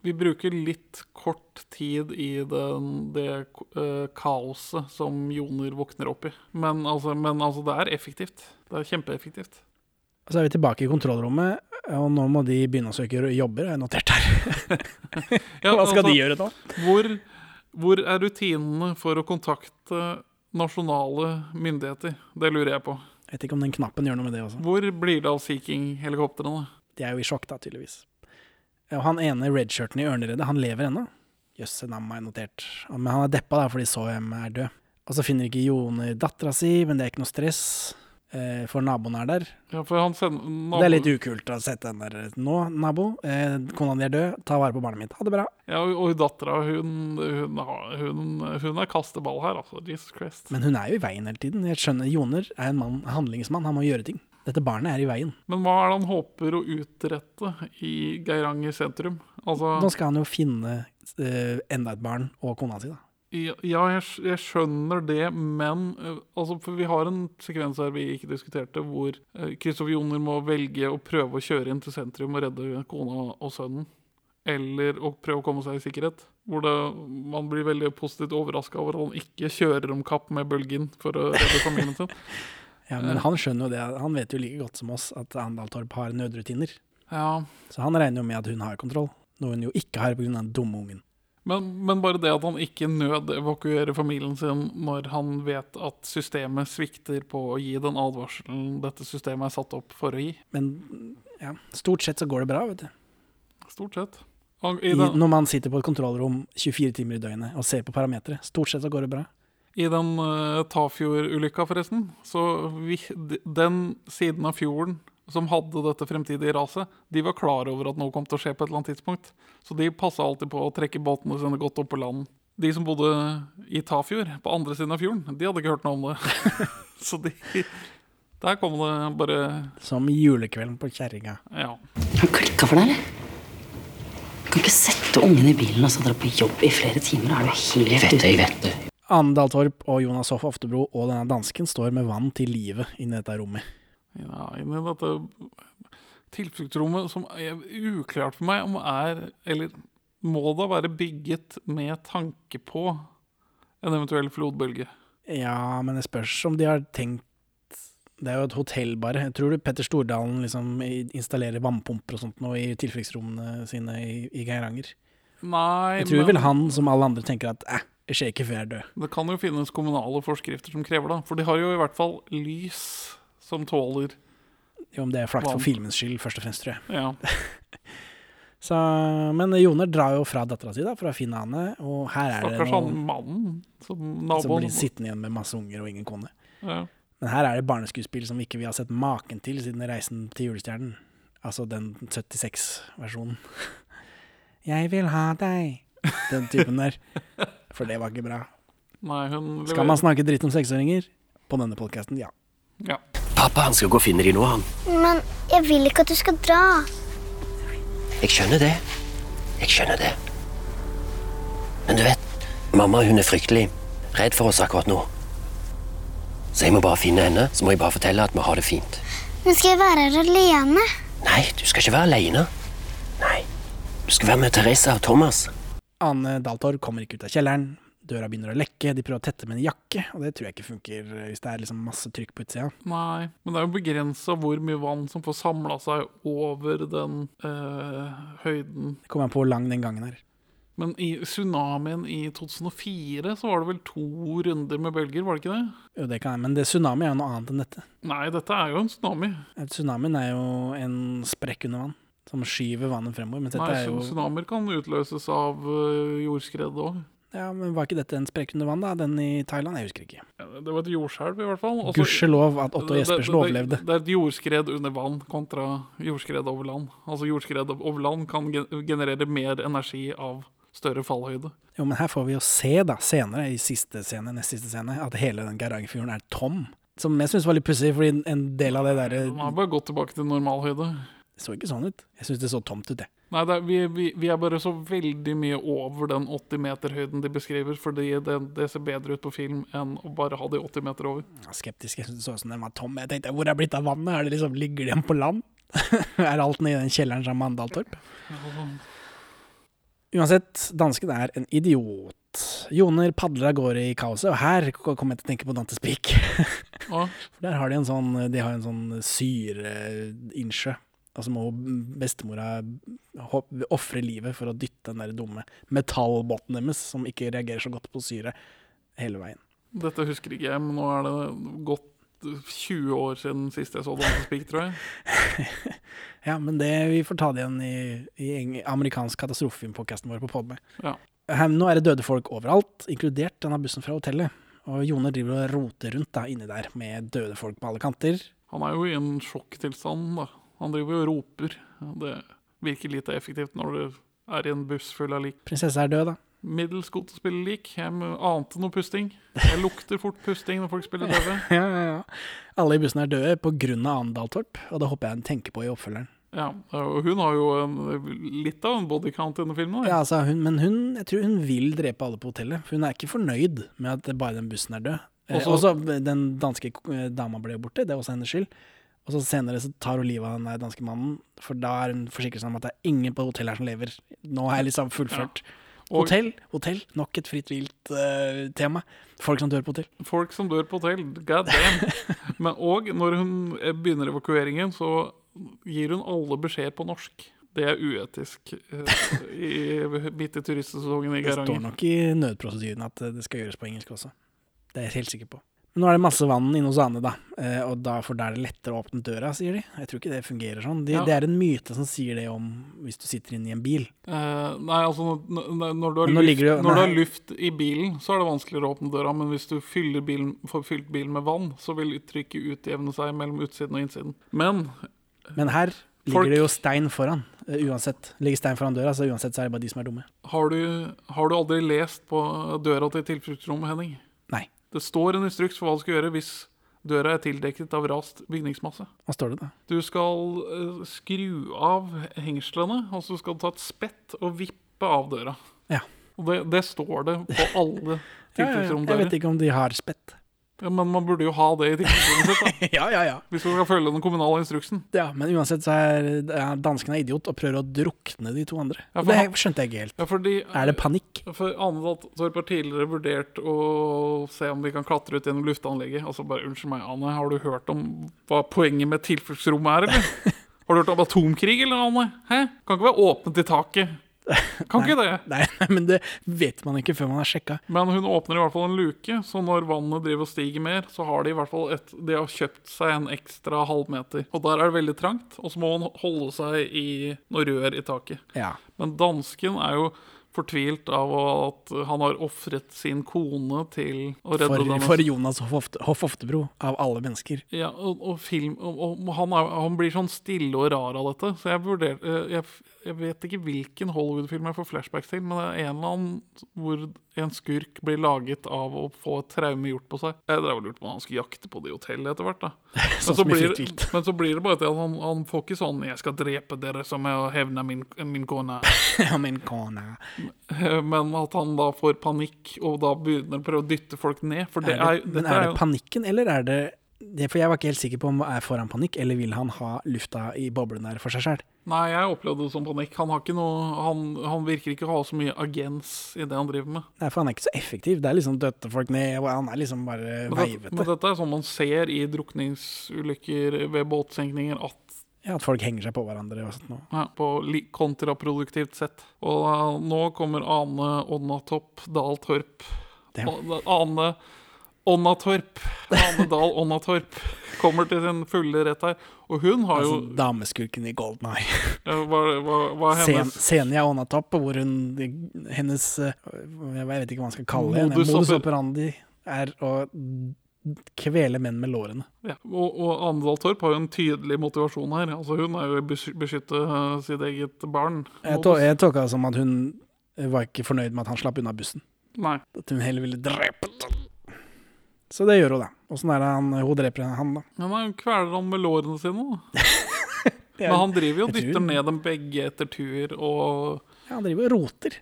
[SPEAKER 2] vi bruker litt kort tid i den, det eh, kaoset som Joner våkner opp i. Men altså, men altså, det er effektivt. Det er kjempeeffektivt.
[SPEAKER 1] Og så er vi tilbake i kontrollrommet, og nå må de begynne å søke jobber, har jeg notert her.
[SPEAKER 2] Ja,
[SPEAKER 1] Hva skal
[SPEAKER 2] altså,
[SPEAKER 1] de gjøre nå?
[SPEAKER 2] Hvor, hvor er rutinene for å kontakte nasjonale myndigheter? Det lurer jeg på.
[SPEAKER 1] Jeg vet ikke om den knappen gjør noe med det også.
[SPEAKER 2] Hvor blir det av Sea King-helikoptrene?
[SPEAKER 1] De er jo i sjokk, da, tydeligvis. Og han ene redshirten i Ørneredet, han lever ennå. Jøsse nam, har jeg notert. Men han er deppa da, fordi Sohjem er død. Og så finner ikke Joner dattera si, men det er ikke noe stress, eh, for naboen er der.
[SPEAKER 2] Ja, for han sender
[SPEAKER 1] Og det er litt ukult å sette den der nå, nabo. Eh, kona di er død, ta vare på barnet mitt. Ha det bra.
[SPEAKER 2] Ja, og- og dattera, hun, hun, har- hun, hun er kasteball her, altså. Jesus Christ.
[SPEAKER 1] Men hun er jo i veien hele tiden. Jeg skjønner, Joner er en mann, handlingsmann, han må gjøre ting. Dette barnet er i veien.
[SPEAKER 2] Men hva er det han håper å utrette i Geiranger sentrum?
[SPEAKER 1] Nå
[SPEAKER 2] Altså,
[SPEAKER 1] skal han jo finne eh, enda et barn og kona si, da.
[SPEAKER 2] ja, jeg, skj- jeg skjønner det, men eh, altså, for vi har en sekvens her vi ikke diskuterte, hvor eh, Kristoffer Joner må velge å prøve å kjøre inn til sentrum og redde kona og sønnen. Eller å prøve å komme seg i sikkerhet. Hvor det, man blir veldig positivt overraska over at han ikke kjører om kapp med bølgen for å redde familien sin.
[SPEAKER 1] Ja, men han skjønner jo det, han vet jo like godt som oss at Andal Torp har nødrutiner.
[SPEAKER 2] Ja,
[SPEAKER 1] Så han regner jo med at hun har kontroll, noe hun jo ikke har pga. den dumme ungen.
[SPEAKER 2] Men, men bare det at han ikke nødevakuerer familien sin når han vet at systemet svikter på å gi den advarselen dette systemet er satt opp for å gi.
[SPEAKER 1] Men ja, stort sett så går det bra, vet du.
[SPEAKER 2] Stort sett. Og
[SPEAKER 1] I,
[SPEAKER 2] I den,
[SPEAKER 1] når man sitter på et kontrollrom 24 timer i døgnet og ser på parametere. Stort sett så går det bra.
[SPEAKER 2] i den eh, Tafjord-ulykka, forresten, så vi, d- den siden av fjorden som hadde dette fremtidige raset, de var klar over at noe kom til å skje på et eller annet tidspunkt. Så de passa alltid på å trekke båtene sine godt opp på land. De som bodde i Tafjord, på andre siden av fjorden, de hadde ikke hørt noe om det. så de Der kom det bare
[SPEAKER 1] Som julekvelden på kjerringa.
[SPEAKER 2] Ja.
[SPEAKER 8] Han klikka for deg, eller? Du kan ikke sette ungen i bilen og så dra på jobb i flere timer. Er du helt jeg vet det, jeg vet det.
[SPEAKER 1] Andal Torp og Jonas Hoff Oftebro og denne dansken står med vann til livet inni dette rommet.
[SPEAKER 2] ja inn i dette tilfluktsrommet som er uklart for meg om er Eller må da være bygget med tanke på en eventuell flodbølge?
[SPEAKER 1] Ja, men det spørs om de har tenkt Det er jo et hotell, bare. Jeg tror du Petter Stordalen liksom installerer vannpumper og sånt nå i tilfluktsrommene sine i, i Geiranger?
[SPEAKER 2] Nei,
[SPEAKER 1] Jeg tror
[SPEAKER 2] men
[SPEAKER 1] vel han, som alle andre, tenker at eh, det skjer ikke før jeg er død.
[SPEAKER 2] det kan jo finnes kommunale forskrifter som krever det. For de har jo i hvert fall lys som tåler
[SPEAKER 1] Jo, om det er flaks
[SPEAKER 2] Vann.
[SPEAKER 1] for filmens skyld, først og fremst, tror jeg.
[SPEAKER 2] Ja.
[SPEAKER 1] Så, men Joner drar jo fra dattera si, da, for å finne Anne, og her er det
[SPEAKER 2] Stakkars han
[SPEAKER 1] noen
[SPEAKER 2] mannen som
[SPEAKER 1] som
[SPEAKER 2] naboen
[SPEAKER 1] blir sittende igjen med masse unger og ingen kone.
[SPEAKER 2] ja.
[SPEAKER 1] Men her er det barneskuespill som ikke vi har sett maken til siden Reisen til julestjernen. Altså den 76-versjonen. Jeg vil ha deg. Den typen der. For det var ikke bra.
[SPEAKER 2] Nei, hun
[SPEAKER 1] Skal man snakke dritt om seksåringer? På denne podkasten, ja.
[SPEAKER 2] Ja.
[SPEAKER 5] Pappa han skal gå og finne de nå, han.
[SPEAKER 9] Men jeg vil ikke at du skal dra.
[SPEAKER 5] Jeg skjønner det. Jeg skjønner det. Men du vet, mamma hun er fryktelig redd for oss akkurat nå. Så jeg må bare finne henne, så må jeg bare fortelle at vi har det fint.
[SPEAKER 9] Men skal jeg være her alene?
[SPEAKER 5] Nei, du skal ikke være alene. Nei, du skal være med Teresa og Thomas.
[SPEAKER 1] Ane Daltor kommer ikke ut av kjelleren. Døra begynner å lekke, de prøver å tette med en jakke, og det tror jeg ikke funker eh, hvis det er liksom masse trykk på utsida.
[SPEAKER 2] Nei, men det er jo begrensa hvor mye vann som får samla seg over den eh, høyden.
[SPEAKER 1] Det kommer an på hvor lang den gangen er.
[SPEAKER 2] Men i tsunamien i 2004 så var det vel to runder med bølger, var det ikke det?
[SPEAKER 1] Jo, det kan jeg, men det tsunami er jo noe annet enn dette.
[SPEAKER 2] Nei, dette er jo en tsunami.
[SPEAKER 1] Eh, Tsunamien er jo en sprekk under vann, som skyver vannet fremover. Mens dette
[SPEAKER 2] Nei,
[SPEAKER 1] er jo
[SPEAKER 2] Tsunamier kan utløses av eh, jordskred òg.
[SPEAKER 1] Ja, men var ikke dette en sprekk under vann, da? Den i Thailand? Jeg husker ikke.
[SPEAKER 2] Det var et jordskjelv, i hvert fall. Altså,
[SPEAKER 1] Gudskjelov at Otto
[SPEAKER 2] det-
[SPEAKER 1] Jespersen
[SPEAKER 2] det-
[SPEAKER 1] overlevde.
[SPEAKER 2] Det, det er et jordskred under vann kontra jordskred over land. Altså jordskred over land kan gen- generere mer energi av større fallhøyde.
[SPEAKER 1] Jo, men her får vi jo se, da, senere, i siste scene, nest siste scene, at hele den Garangfjorden er tom. Som jeg syns var litt pussig, fordi en del av det derre
[SPEAKER 2] Den har bare gått tilbake til normalhøyde.
[SPEAKER 1] så ikke sånn ut. Jeg syns det så tomt ut, jeg.
[SPEAKER 2] Nei, det er, vi, vi, vi er bare så veldig mye over den 80 meter høyden de beskriver, fordi det, det ser bedre ut på film enn å bare ha de 80 meter over.
[SPEAKER 1] Jeg var skeptisk. Jeg syntes det så ut som den var tom. Jeg tenkte, hvor er det blitt av vannet? Er det liksom, Ligger det igjen på land? er alt nede i den kjelleren sammen med Andaltorp? Uansett, dansken er en idiot. Joner padler av gårde i kaoset, og her kom jeg til å tenke på Dantes Peak.
[SPEAKER 2] Ja.
[SPEAKER 1] For der har de en sånn, de har en sånn eh, syreinnsjø. Altså må bestemora hopp- ofre livet for å dytte den der dumme metallbåten deres, som ikke reagerer så godt på syre, hele veien.
[SPEAKER 2] Dette husker ikke jeg, men nå er det gått 20 år siden sist jeg så Dantes Peak, tror jeg.
[SPEAKER 1] Ja, men det vi får ta det igjen i, i eng- amerikansk katastrofefilmpodkasten vår på Podme.
[SPEAKER 2] Ja.
[SPEAKER 1] Her, nå er det døde folk overalt, inkludert denne bussen fra hotellet. Og Joner driver og roter rundt da, inni der med døde folk på alle kanter.
[SPEAKER 2] Han er jo i en sjokktilstand, da. Han driver jo og roper. Det virker lite effektivt når du er i en buss full av lik.
[SPEAKER 1] Prinsessa er død, da.
[SPEAKER 2] Middels god til å spille lik. Jeg ante noe pusting. Jeg lukter fort pusting når folk spiller døve.
[SPEAKER 1] Ja, ja, ja. Alle i bussen er døde pga. Andaltorp, og det håper jeg hun tenker på i oppfølgeren.
[SPEAKER 2] Ja, og hun har jo en, litt av en bodycount i denne filmen. da.
[SPEAKER 1] Ja, altså, hun, men hun, jeg tror hun vil drepe alle på hotellet. For hun er ikke fornøyd med at det- bare den bussen er død. Eh,
[SPEAKER 2] Også-
[SPEAKER 1] Også den danske eh, dama ble jo borte, det er også hennes skyld. Og så senere så tar hun livet av den der danske mannen, for da er hun forsikret seg om at det er ingen på hotellet her som lever. Nå har jeg liksom fullført.
[SPEAKER 2] Og-
[SPEAKER 1] Hotell, hotell. Nok et fritt vilt eh, tema. Folk som dør på hotell.
[SPEAKER 2] Folk som dør på hotell, god damn. Men og når hun eh, begynner evakueringen, så gir hun alle beskjed på norsk. Det er uetisk eh, i bitte turistsesongen i
[SPEAKER 1] Det står
[SPEAKER 2] Geiranger.
[SPEAKER 1] nok i nødprosedyren at eh, det skal gjøres på engelsk også. Det er jeg helt sikker på. Men nå er det masse vann inne hos Ane, da. Eh, Og da, for da er det lettere å åpne døra, sier de. Jeg tror ikke det fungerer sånn. De,
[SPEAKER 2] Ja.
[SPEAKER 1] Det er en myte som sier det om hvis du sitter inne i en bil.
[SPEAKER 2] Eh, nei, altså når, når- når, du har
[SPEAKER 1] Men nå
[SPEAKER 2] luft,
[SPEAKER 1] ligger det-
[SPEAKER 2] når du har
[SPEAKER 1] nei.
[SPEAKER 2] luft i bilen, så er det vanskeligere å åpne døra. Men hvis du fyller bilen, får fylt bilen med vann, så vil trykket utjevne seg mellom utsiden og innsiden. Men
[SPEAKER 1] Men her ligger
[SPEAKER 2] Folk-
[SPEAKER 1] det jo stein foran, eh, uansett. Ligger stein foran døra, så uansett så er det bare de som er dumme.
[SPEAKER 2] har du, har du aldri lest på døra til tilfluktsrommet, Henning?
[SPEAKER 1] Nei.
[SPEAKER 2] Det står en instruks for hva du skal gjøre hvis døra er tildekket av rast bygningsmasse.
[SPEAKER 1] Hva står det, da?
[SPEAKER 2] Du skal eh, skru av hengslene, og så skal du ta et spett og vippe av døra.
[SPEAKER 1] Ja.
[SPEAKER 2] Og det, det står det på alle
[SPEAKER 1] Ja, ja, ja. Jeg
[SPEAKER 2] tilfluktsromdører.
[SPEAKER 1] vet ikke om de har spett.
[SPEAKER 2] Ja, men man burde jo ha det i tilfluktsrommet sitt, da.
[SPEAKER 1] ja, ja, ja.
[SPEAKER 2] Hvis man skal følge den kommunale instruksen.
[SPEAKER 1] ja. Men uansett så er ja, danskene er idiot og prøver å drukne de to andre.
[SPEAKER 2] Ja, for
[SPEAKER 1] det
[SPEAKER 2] han-
[SPEAKER 1] skjønte jeg ikke helt.
[SPEAKER 2] Ja, fordi
[SPEAKER 1] Er det panikk?
[SPEAKER 2] For Anne-Torp har tidligere vurdert å se om de kan klatre ut gjennom luftanlegget. Altså bare, Unnskyld meg, Anne, har du hørt om hva poenget med tilfluktsrommet er, eller? Har du hørt om atomkrig, eller, Anne? Hæ? Kan ikke være åpent i taket. Kan ikke det.
[SPEAKER 1] Nei, men det vet man ikke før man har sjekka.
[SPEAKER 2] Men hun åpner i hvert fall en luke, så når vannet driver og stiger mer, så har de i hvert fall et, de har kjøpt seg en ekstra halvmeter. Og der er det veldig trangt, og så må man holde seg i noe rør i taket.
[SPEAKER 1] Ja.
[SPEAKER 2] Men dansken er jo fortvilt av at han har ofret sin kone til å redde
[SPEAKER 1] For,
[SPEAKER 2] denne
[SPEAKER 1] for Jonas Hoff Ofte- Hoff Oftebro, av alle mennesker.
[SPEAKER 2] Ja, og, og film og, og han, er, han blir sånn stille og rar av dette. Så jeg vurderer eh, jeg, f- jeg vet ikke hvilken Hollywood-film jeg får flashbacks til, men det er en eller annen hvor en skurk blir laget av å få et traume gjort på seg. Jeg drev og lurte på om han skulle jakte på det i hotellet etter hvert, da. Men
[SPEAKER 1] Sånn
[SPEAKER 2] så
[SPEAKER 1] som i
[SPEAKER 2] blir,
[SPEAKER 1] Fritt vilt.
[SPEAKER 2] men så blir det bare til at han, han får ikke sånn 'Jeg skal drepe dere som jeg hevner min, min kone'.
[SPEAKER 1] Ja, min kone.
[SPEAKER 2] Eh, Men at han da får panikk og da begynner å prøve å dytte folk ned. For det
[SPEAKER 1] Er
[SPEAKER 2] er,
[SPEAKER 1] det,
[SPEAKER 2] jo-
[SPEAKER 1] men
[SPEAKER 2] dette
[SPEAKER 1] er
[SPEAKER 2] er
[SPEAKER 1] det
[SPEAKER 2] jo
[SPEAKER 1] panikken, eller er det det, for jeg var ikke helt sikker på om er får han panikk, eller vil han ha lufta i boblen der for seg sjøl.
[SPEAKER 2] Nei, jeg opplevde det som panikk. Han, har ikke noe, han, han virker ikke å ha så mye agens i det han driver med.
[SPEAKER 1] Nei, for han er ikke så effektiv. Det er liksom døtte folk ned, og han er liksom bare
[SPEAKER 2] Men, det, men
[SPEAKER 1] veivete.
[SPEAKER 2] dette er sånn man ser i drukningsulykker ved båtsenkninger, at
[SPEAKER 1] Ja, at folk henger seg på hverandre og sånt noe.
[SPEAKER 2] Ja, på li- kontraproduktivt sett. Og eh, nå kommer Ane Onnatopp Dahl Torp.
[SPEAKER 1] Damn.
[SPEAKER 2] A- Ane Onnatorp. Ane Dahl Onnatorp kommer til sin fulle rett her. Og hun har jo
[SPEAKER 1] Altså, dameskurken i Golden Eye.
[SPEAKER 2] eh, Hva, hva, hva er
[SPEAKER 1] Sen,
[SPEAKER 2] hennes
[SPEAKER 1] Senja Onatopp, hvor hun Hennes eh, Jeg vet ikke hva man skal kalle henne.
[SPEAKER 2] Modus
[SPEAKER 1] Modus,
[SPEAKER 2] oper-
[SPEAKER 1] operandi er å kvele menn med lårene.
[SPEAKER 2] ja. Og, og Ane Dahl Torp har jo en tydelig motivasjon her. Altså Hun er jo å besky- beskytte eh, sitt eget barn.
[SPEAKER 1] Jeg, to, jeg tolka det som at hun var ikke fornøyd med at han slapp unna bussen.
[SPEAKER 2] Nei.
[SPEAKER 1] At hun heller ville drepe den. Så det gjør hun, da. Åssen er det han, hun dreper han, da?
[SPEAKER 2] Ja, nei, hun kveler han med lårene sine. da.
[SPEAKER 1] Det er-
[SPEAKER 2] Men han driver jo og
[SPEAKER 1] Jeg tror-
[SPEAKER 2] dytter ned dem begge etter tur og
[SPEAKER 1] Ja, han driver og roter.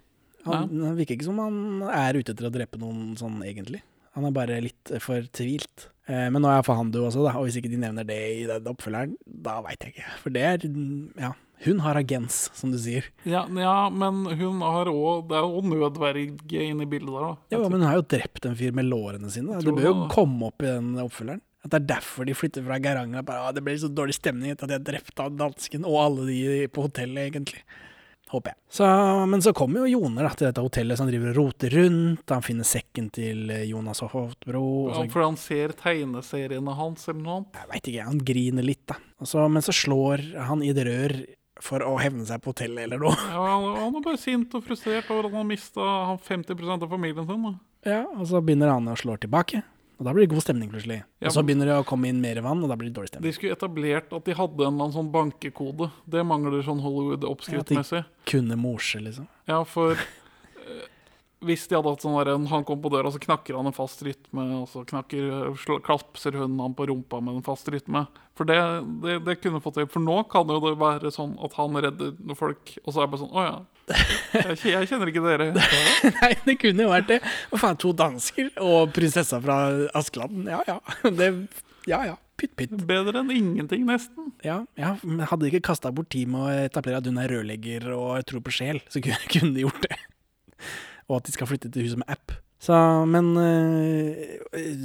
[SPEAKER 1] Han, han virker ikke som han er ute etter å drepe noen sånn, egentlig. Han er bare litt eh, fortvilt. Eh, men nå er Fahando også, da, og hvis ikke de nevner det i den oppfølgeren, da veit jeg ikke. For det er mm, Ja, hun har agens, som du sier.
[SPEAKER 2] Ja, ja men hun har òg Det er jo nødverge inne i bildet der, da.
[SPEAKER 1] Jo, men hun har jo drept en fyr med lårene sine. Det
[SPEAKER 2] tror
[SPEAKER 1] bør jo
[SPEAKER 2] det, da.
[SPEAKER 1] komme opp i den oppfølgeren. At det er derfor de flytter fra Geiranger. at Bare, ah, det ble så dårlig stemning etter at jeg drepte han dansken og alle de på hotellet, egentlig. Håper jeg. Så, men så kommer jo Joner da, til dette hotellet, så han driver og roter rundt. Han finner sekken til eh, Jonas og Hoftbro. Og
[SPEAKER 2] Ja,
[SPEAKER 1] så,
[SPEAKER 2] for han ser tegneseriene hans eller noe annet.
[SPEAKER 1] jeg veit ikke, han griner litt, da. Og så, men så slår han i et rør for å hevne seg på hotellet eller noe.
[SPEAKER 2] Ja, han han er bare sint og frustrert over at han mista 50 av familien sin. Da.
[SPEAKER 1] Ja, Og så begynner han å slå tilbake. Og da blir det god stemning, plutselig.
[SPEAKER 2] Ja,
[SPEAKER 1] Og så
[SPEAKER 2] men-
[SPEAKER 1] begynner det å komme inn mer vann, og da blir det dårlig stemning.
[SPEAKER 2] De skulle etablert at de hadde en eller annen sånn bankekode. Det mangler sånn Hollywood-oppskriftmessig.
[SPEAKER 1] Kunne morse, liksom.
[SPEAKER 2] Ja, for eh, hvis de hadde hatt sånn der en- Han kom på døra, så knakker han en fast rytme, og så knakker, slå, klapser hun han på rumpa med en fast rytme. For det, det, det kunne fått til. For nå kan jo det være sånn at han redder noen folk, og så er det bare sånn Å ja. Jeg, kje- jeg kjenner ikke dere.
[SPEAKER 1] Nei, det kunne jo vært det. Hva faen, to dansker og prinsessa fra Askeladden. Ja ja. Det, ja ja. Pytt pytt.
[SPEAKER 2] Bedre enn ingenting, nesten.
[SPEAKER 1] Ja, ja. Men hadde de ikke kasta bort tid med å etablere at hun er rørlegger og tror på sjel, så kunne kunne de gjort det. Og at de skal flytte til huset med app. Så, men eh,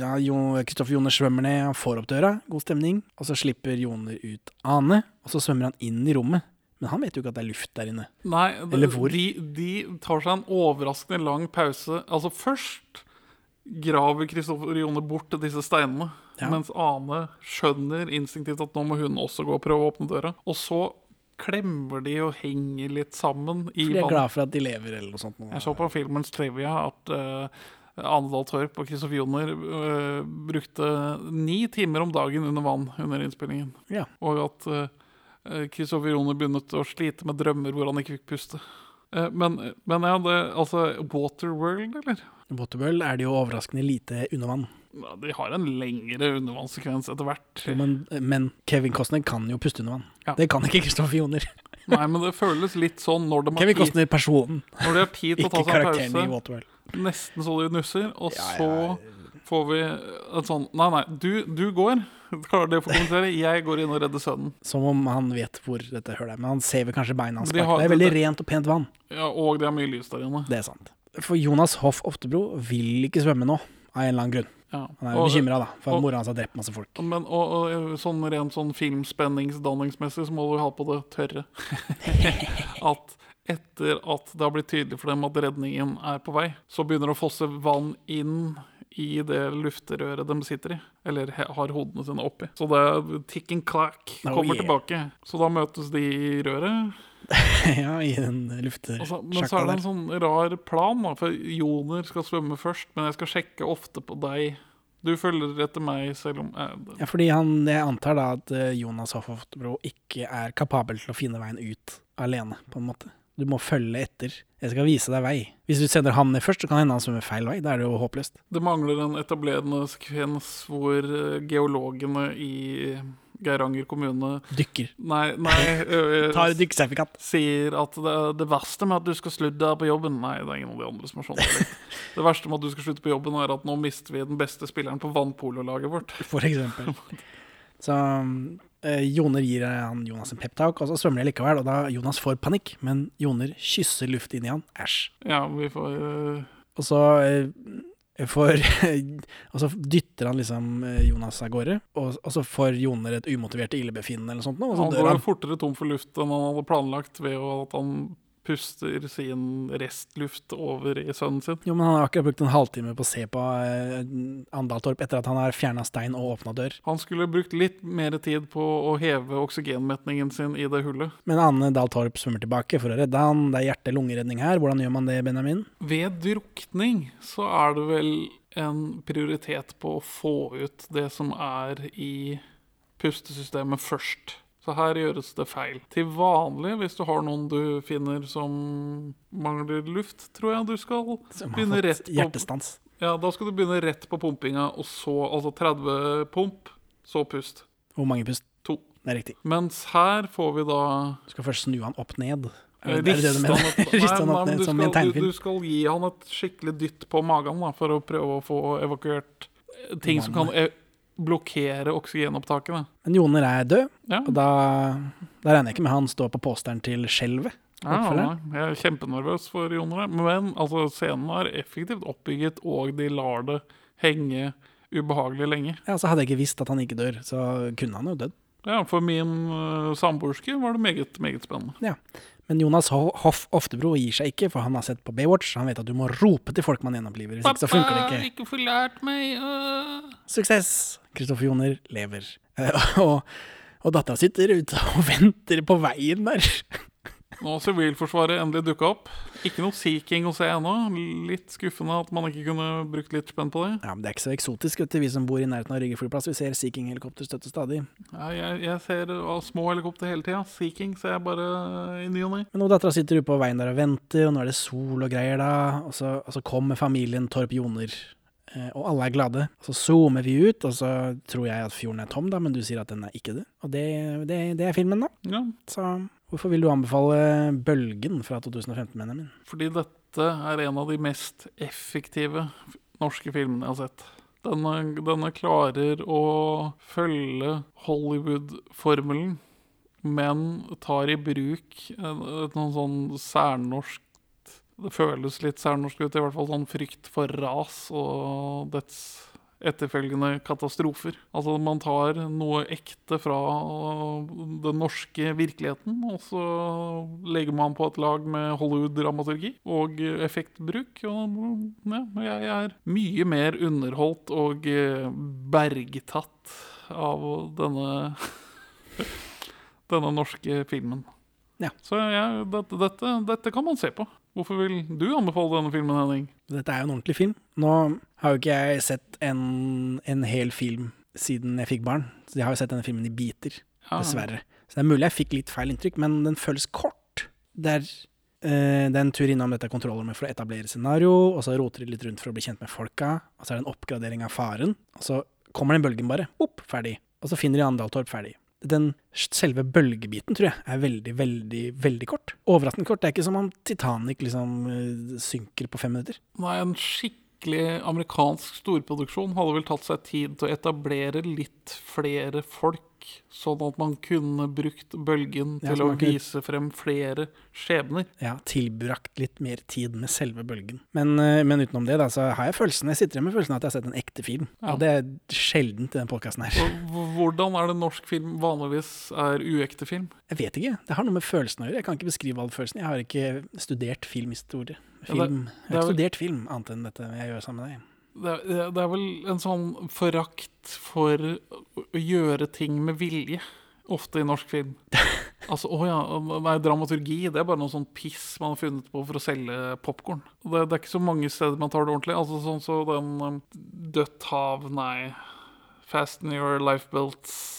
[SPEAKER 1] ja, Jo- Kristoffer Joner svømmer ned, han får opp døra, god stemning. Og så slipper Joner ut Ane, og så svømmer han inn i rommet. Men han vet jo ikke at det er luft der inne.
[SPEAKER 2] Nei, det,
[SPEAKER 1] Eller hvor?
[SPEAKER 2] De, de tar seg en overraskende lang pause. Altså, først graver Kristoffer Jone bort disse steinene,
[SPEAKER 1] Ja.
[SPEAKER 2] mens Ane skjønner instinktivt at nå må hun også gå og prøve å åpne døra. Og så klemmer de og henger litt sammen i
[SPEAKER 1] For de er
[SPEAKER 2] vann.
[SPEAKER 1] glad for at de lever, eller noe sånt. nå.
[SPEAKER 2] Jeg så på filmens trivia at uh, Ane Dahl Torp og Kristoffer Joner eh, brukte ni timer om dagen under vann under innspillingen.
[SPEAKER 1] Ja.
[SPEAKER 2] Og at eh, Kristoffer Joner begynte å slite med drømmer hvor han ikke fikk puste. Eh, men, men ja, det, altså Waterworld, eller?
[SPEAKER 1] Waterworld er det jo overraskende lite under vann.
[SPEAKER 2] Ja, de har en lengre undervannssekvens etter hvert.
[SPEAKER 1] Jo, men, men Kevin Costner kan jo puste under vann.
[SPEAKER 2] Ja.
[SPEAKER 1] Det kan ikke Kristoffer Joner.
[SPEAKER 2] Nei, men det føles litt sånn når de har
[SPEAKER 1] Kevin
[SPEAKER 2] tid,
[SPEAKER 1] Costner personen,
[SPEAKER 2] når de har tid til å
[SPEAKER 1] ikke
[SPEAKER 2] ta seg en
[SPEAKER 1] karakteren i
[SPEAKER 2] pause.
[SPEAKER 1] Waterworld.
[SPEAKER 2] Nesten så de nusser, og så får vi en sånn Nei, nei, du, du går. Klarer det å få kommentere? Jeg går inn og redder sønnen.
[SPEAKER 1] Som om han vet hvor dette hølet er, men han ser vel kanskje beina hans
[SPEAKER 2] De
[SPEAKER 1] bak.
[SPEAKER 2] har-
[SPEAKER 1] Det er veldig
[SPEAKER 2] det-
[SPEAKER 1] rent og pent vann,
[SPEAKER 2] Ja, og det er mye lys der inne.
[SPEAKER 1] det er sant. For Jonas Hoff Oftebro vil ikke svømme nå, av en eller annen grunn.
[SPEAKER 2] Ja.
[SPEAKER 1] Han er jo
[SPEAKER 2] Og-
[SPEAKER 1] bekymra, da, for
[SPEAKER 2] og-
[SPEAKER 1] at mora hans har drept masse folk.
[SPEAKER 2] Men og, og, sånn rent sånn filmspenningsdanningsmessig så må du ha på det tørre. at etter at det har blitt tydelig for dem at redningen er på vei, så begynner det å fosse vann inn i det lufterøret de sitter i. Eller he- har hodene sine oppi. Så det er tick and clack
[SPEAKER 1] Oh,
[SPEAKER 2] kommer
[SPEAKER 1] yeah.
[SPEAKER 2] tilbake. Så da møtes de i røret.
[SPEAKER 1] ja, I den
[SPEAKER 2] Altså, men så
[SPEAKER 1] luftesjakka
[SPEAKER 2] er
[SPEAKER 1] der.
[SPEAKER 2] det en sånn rar plan, da. For Joner skal svømme først, men jeg skal sjekke ofte på deg. Du følger etter meg, selv om eh,
[SPEAKER 1] Ja, fordi han, jeg antar da at eh, Jonas Hoff Oftebro ikke er kapabel til å finne veien ut alene, på en måte. Du må følge etter. Jeg skal vise deg vei. Hvis du sender han ned først, så kan hende han svømmer feil vei. Da er det jo håpløst.
[SPEAKER 2] Det mangler en etablerende sekvens hvor eh, geologene i Geiranger kommune
[SPEAKER 1] Dykker.
[SPEAKER 2] Nei, nei ø, ø,
[SPEAKER 1] Tar dykkersertifikat.
[SPEAKER 2] sier at det, det verste med at du skal slutte her på jobben Nei, det er ingen av de andre som har sånn. tillit. Det verste med at du skal slutte på jobben, er at nå mister vi den beste spilleren på vannpololaget vårt.
[SPEAKER 1] for eksempel. Så eh, Joner gir eh, han Jonas en peptalk, og så svømmer de likevel. Og da Jonas får panikk, men Joner kysser luft inn i han. Æsj.
[SPEAKER 2] Ja, vi får ø,
[SPEAKER 1] Og så eh, får Og så dytter han liksom eh, Jonas av gårde, og, og så får Joner et umotivert illebefinnende eller noe sånt, nå, og så
[SPEAKER 2] Han
[SPEAKER 1] Sånn dør
[SPEAKER 2] går jo
[SPEAKER 1] han.
[SPEAKER 2] fortere tom for luft enn han hadde planlagt ved å- at han puster sin restluft over i sønnen sin.
[SPEAKER 1] Jo, men han har akkurat brukt en halvtime på å se på eh, Andaltorp etter at han har fjerna stein og åpna dør.
[SPEAKER 2] Han skulle brukt litt mer tid på å heve oksygenmetningen sin i det hullet.
[SPEAKER 1] Men Anne Dahl Torp svømmer tilbake for å redde han. Det er hjerte-lungeredning her. Hvordan gjør man det, Benjamin?
[SPEAKER 2] Ved drukning så er det vel en prioritet på å få ut det som er i pustesystemet først. Så her gjøres det feil. Til vanlig, hvis du har noen du finner som mangler luft, tror jeg du skal
[SPEAKER 1] Som har
[SPEAKER 2] begynne rett
[SPEAKER 1] fått
[SPEAKER 2] på
[SPEAKER 1] hjertestans.
[SPEAKER 2] Ja, da skal du begynne rett på pumpinga, og så altså 30 pump, så pust.
[SPEAKER 1] Hvor mange pust?
[SPEAKER 2] To.
[SPEAKER 1] Det er riktig.
[SPEAKER 2] Mens her får vi da
[SPEAKER 1] Du skal først snu han opp ned.
[SPEAKER 2] eh,
[SPEAKER 1] Er det er det du
[SPEAKER 2] riste
[SPEAKER 1] mener?
[SPEAKER 2] han opp- Nei,
[SPEAKER 1] Riste han
[SPEAKER 2] nei,
[SPEAKER 1] opp ned
[SPEAKER 2] men du
[SPEAKER 1] som i en
[SPEAKER 2] skal- du-
[SPEAKER 1] tegnefilm?
[SPEAKER 2] Du skal gi han et skikkelig dytt på magen da, for å prøve å få evakuert eh, ting som kan eh, blokkere oksygenopptakene.
[SPEAKER 1] Men Joner er død,
[SPEAKER 2] Ja.
[SPEAKER 1] og da, da regner jeg ikke med han står på posteren til skjelvet.
[SPEAKER 2] Ja,
[SPEAKER 1] oppfølgeren.
[SPEAKER 2] nei, jeg er kjempenervøs for Joner. her, Men altså, scenen er effektivt oppbygget, og de lar det henge ubehagelig lenge.
[SPEAKER 1] Ja, så hadde jeg ikke visst at han ikke dør, så kunne han jo dødd.
[SPEAKER 2] Ja, For min eh, samboerske var det meget, meget spennende.
[SPEAKER 1] Ja. Men Jonas Ho- Hoff Oftebro gir seg ikke, for han har sett på Baywatch. Han vet at du må rope til folk man gjenoppliver, hvis ikke så funker det ikke.
[SPEAKER 2] ikke forlært meg øh.
[SPEAKER 1] Suksess! Kristoffer Joner lever. Eh, Og, og dattera sitter ute og venter på veien der.
[SPEAKER 2] Nå har Sivilforsvaret endelig dukka opp. Ikke noe Sea King å se ennå. Litt skuffende at man ikke kunne brukt litt spenn på det.
[SPEAKER 1] Ja, men Det er ikke så eksotisk, vet du, vi som bor i nærheten av Rygge flyplass. Vi ser Sea King-helikopter støtte stadig.
[SPEAKER 2] Nei, jeg, jeg ser uh, små helikopter hele tida. Sea King ser jeg bare uh, i ny og ne.
[SPEAKER 1] Men nå dattera sitter ute på veien der og venter, og nå er det sol og greier da, og så, og så kommer familien Torp Joner, eh, og alle er glade. Og så zoomer vi ut, og så tror jeg at fjorden er tom da, men du sier at den er ikke det. Og det, det, det er filmen da.
[SPEAKER 2] Ja,
[SPEAKER 1] Så hvorfor vil du anbefale Bølgen fra 2015, mener jeg min?
[SPEAKER 2] fordi dette er en av de mest effektive f- norske filmene jeg har sett. Denne, denne klarer å følge Hollywood-formelen, men tar i bruk en- et noe sånn særnorsk Det føles litt særnorsk ut, i hvert fall sånn frykt for ras og dets etterfølgende katastrofer. Altså man tar noe ekte fra den norske virkeligheten, og så legger man på et lag med Hollywood-dramaturgi og effektbruk. Og ja, jeg er mye mer underholdt og eh, bergtatt av denne denne norske filmen.
[SPEAKER 1] Ja.
[SPEAKER 2] Så jeg, dette, dette, dette kan man se på. Hvorfor vil du anbefale denne filmen, Henning?
[SPEAKER 1] Dette er jo en ordentlig film. Nå har jo ikke jeg sett en, en hel film siden jeg fikk barn, så jeg har jo sett denne filmen i biter,
[SPEAKER 2] Ja.
[SPEAKER 1] dessverre. Så det er mulig jeg fikk litt feil inntrykk, men den føles kort. Det er, eh, det er en tur innom dette kontrollrommet for å etablere scenario, og så roter de litt rundt for å bli kjent med folka, og så er det en oppgradering av faren, og så kommer den bølgen bare, opp, ferdig. Og så finner de Andaltorp ferdig. Den selve bølgebiten, tror jeg, er veldig, veldig, veldig kort. Overraskende kort. Det er ikke som om Titanic liksom eh, synker på fem minutter.
[SPEAKER 2] Nei, en skikkelig amerikansk storproduksjon hadde vel tatt seg tid til å etablere litt flere folk, sånn at man kunne brukt bølgen
[SPEAKER 1] Ja,
[SPEAKER 2] til
[SPEAKER 1] så
[SPEAKER 2] å
[SPEAKER 1] man kunne-
[SPEAKER 2] vise frem flere skjebner.
[SPEAKER 1] ja, tilbrakt litt mer tid med selve bølgen. Men, eh, men utenom det, da, så har jeg følelsen, jeg sitter igjen med følelsen av at jeg har sett en ekte film.
[SPEAKER 2] Ja.
[SPEAKER 1] Og det er sjelden til den podkasten her.
[SPEAKER 2] Og h- Hvordan er det norsk film vanligvis er uekte film?
[SPEAKER 1] Jeg vet ikke. Det har noe med følelsen å gjøre. Jeg kan ikke beskrive all følelsen. Jeg har ikke studert filmhistorie. Film. Jeg har
[SPEAKER 2] det er
[SPEAKER 1] ikke
[SPEAKER 2] vel-
[SPEAKER 1] studert film annet enn dette jeg gjør sammen med deg.
[SPEAKER 2] Det er, det er- det er vel en sånn forakt for å gjøre ting med vilje, ofte i norsk film. Altså, å ja, nei, dramaturgi, det er bare noe sånn piss man har funnet på for å selge popkorn. Det, det er ikke så mange steder man tar det ordentlig. Altså sånn så den um, Dødt hav, nei. Fasten your lifebelts.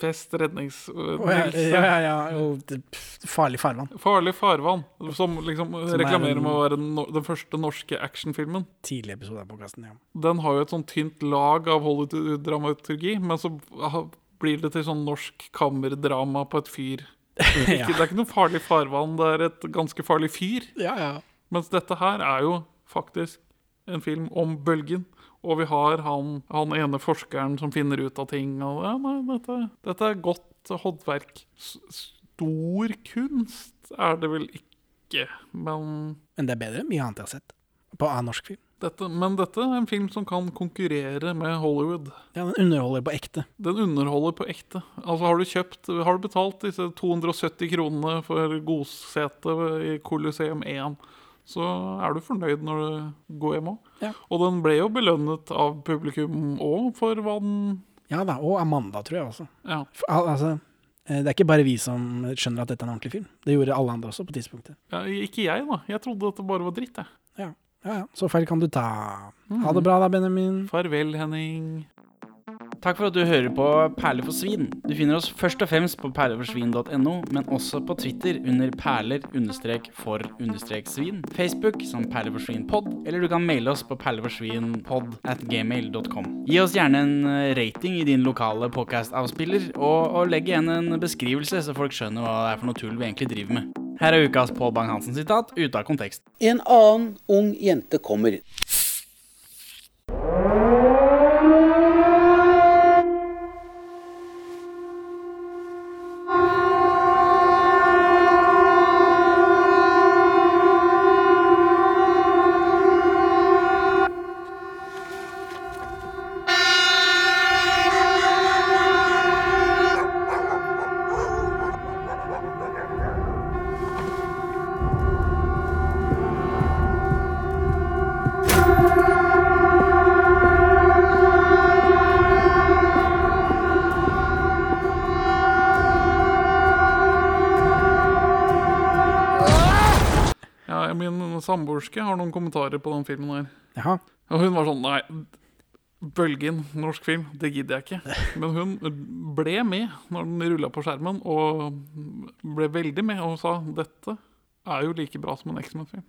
[SPEAKER 2] Fest rednings... øh,
[SPEAKER 1] Å, ja, ja, ja, ja, jo, det, pff, farlig farvann.
[SPEAKER 2] Farlig farvann, som liksom
[SPEAKER 1] Som er
[SPEAKER 2] reklamerer
[SPEAKER 1] en-
[SPEAKER 2] med å være den, no- den første norske actionfilmen.
[SPEAKER 1] Tidlig episode av podkasten, ja.
[SPEAKER 2] den har jo et sånn tynt lag av Hollywood-dramaturgi, men så ha- blir det til sånn norsk kammerdrama på et fyr. Det er ikke, det er ikke noe farlig farvann, det er et ganske farlig fyr.
[SPEAKER 1] Ja, ja.
[SPEAKER 2] Mens dette her er jo faktisk en film om bølgen. Og vi har han, han ene forskeren som finner ut av ting. Og ja, nei, dette, dette er godt håndverk. S stor kunst er det vel ikke, men
[SPEAKER 1] Men det er bedre enn mye annet jeg har sett på annen norsk film.
[SPEAKER 2] dette, men dette er en film som kan konkurrere med Hollywood.
[SPEAKER 1] Ja, Den underholder på ekte.
[SPEAKER 2] Den underholder på ekte. Altså Har du kjøpt, har du betalt disse 270 kronene for godsete i Colosseum 1, så er du fornøyd når du går hjem òg.
[SPEAKER 1] Ja.
[SPEAKER 2] Og den ble jo belønnet av publikum òg, for hva den
[SPEAKER 1] Ja da, og Amanda, tror jeg også.
[SPEAKER 2] Ja.
[SPEAKER 1] For, al- altså, eh, det er ikke bare vi som skjønner at dette er en ordentlig film. Det gjorde alle andre også på tidspunktet.
[SPEAKER 2] ja ikke jeg, da. Jeg trodde dette bare var dritt, jeg.
[SPEAKER 1] Ja, ja, ja. Så feil kan du ta. Ha det bra da, Benjamin.
[SPEAKER 2] Farvel, Henning.
[SPEAKER 10] Takk for at du hører på Perler for svin. Du finner oss først og fremst på perleforsvin.no, men også på Twitter under perler-for-svin, Facebook som perleforsvinpod, eller du kan maile oss på perleforsvinpod at gmail.com. Gi oss gjerne en eh, rating i din lokale podcast-avspiller, og, og legg igjen en beskrivelse så folk skjønner hva det er for noe tull vi egentlig driver med. Her er ukas Pål Bang-Hansen sitat ute av kontekst.
[SPEAKER 11] En annen ung jente kommer.
[SPEAKER 2] Ja, min samboerske har noen kommentarer på den filmen her.
[SPEAKER 1] Jaha.
[SPEAKER 2] Og hun var sånn Nei, Bølgen, norsk film, det gidder jeg ikke. Men hun ble med når den rulla på skjermen, og ble veldig med og sa dette er jo like bra som en X-Men-film.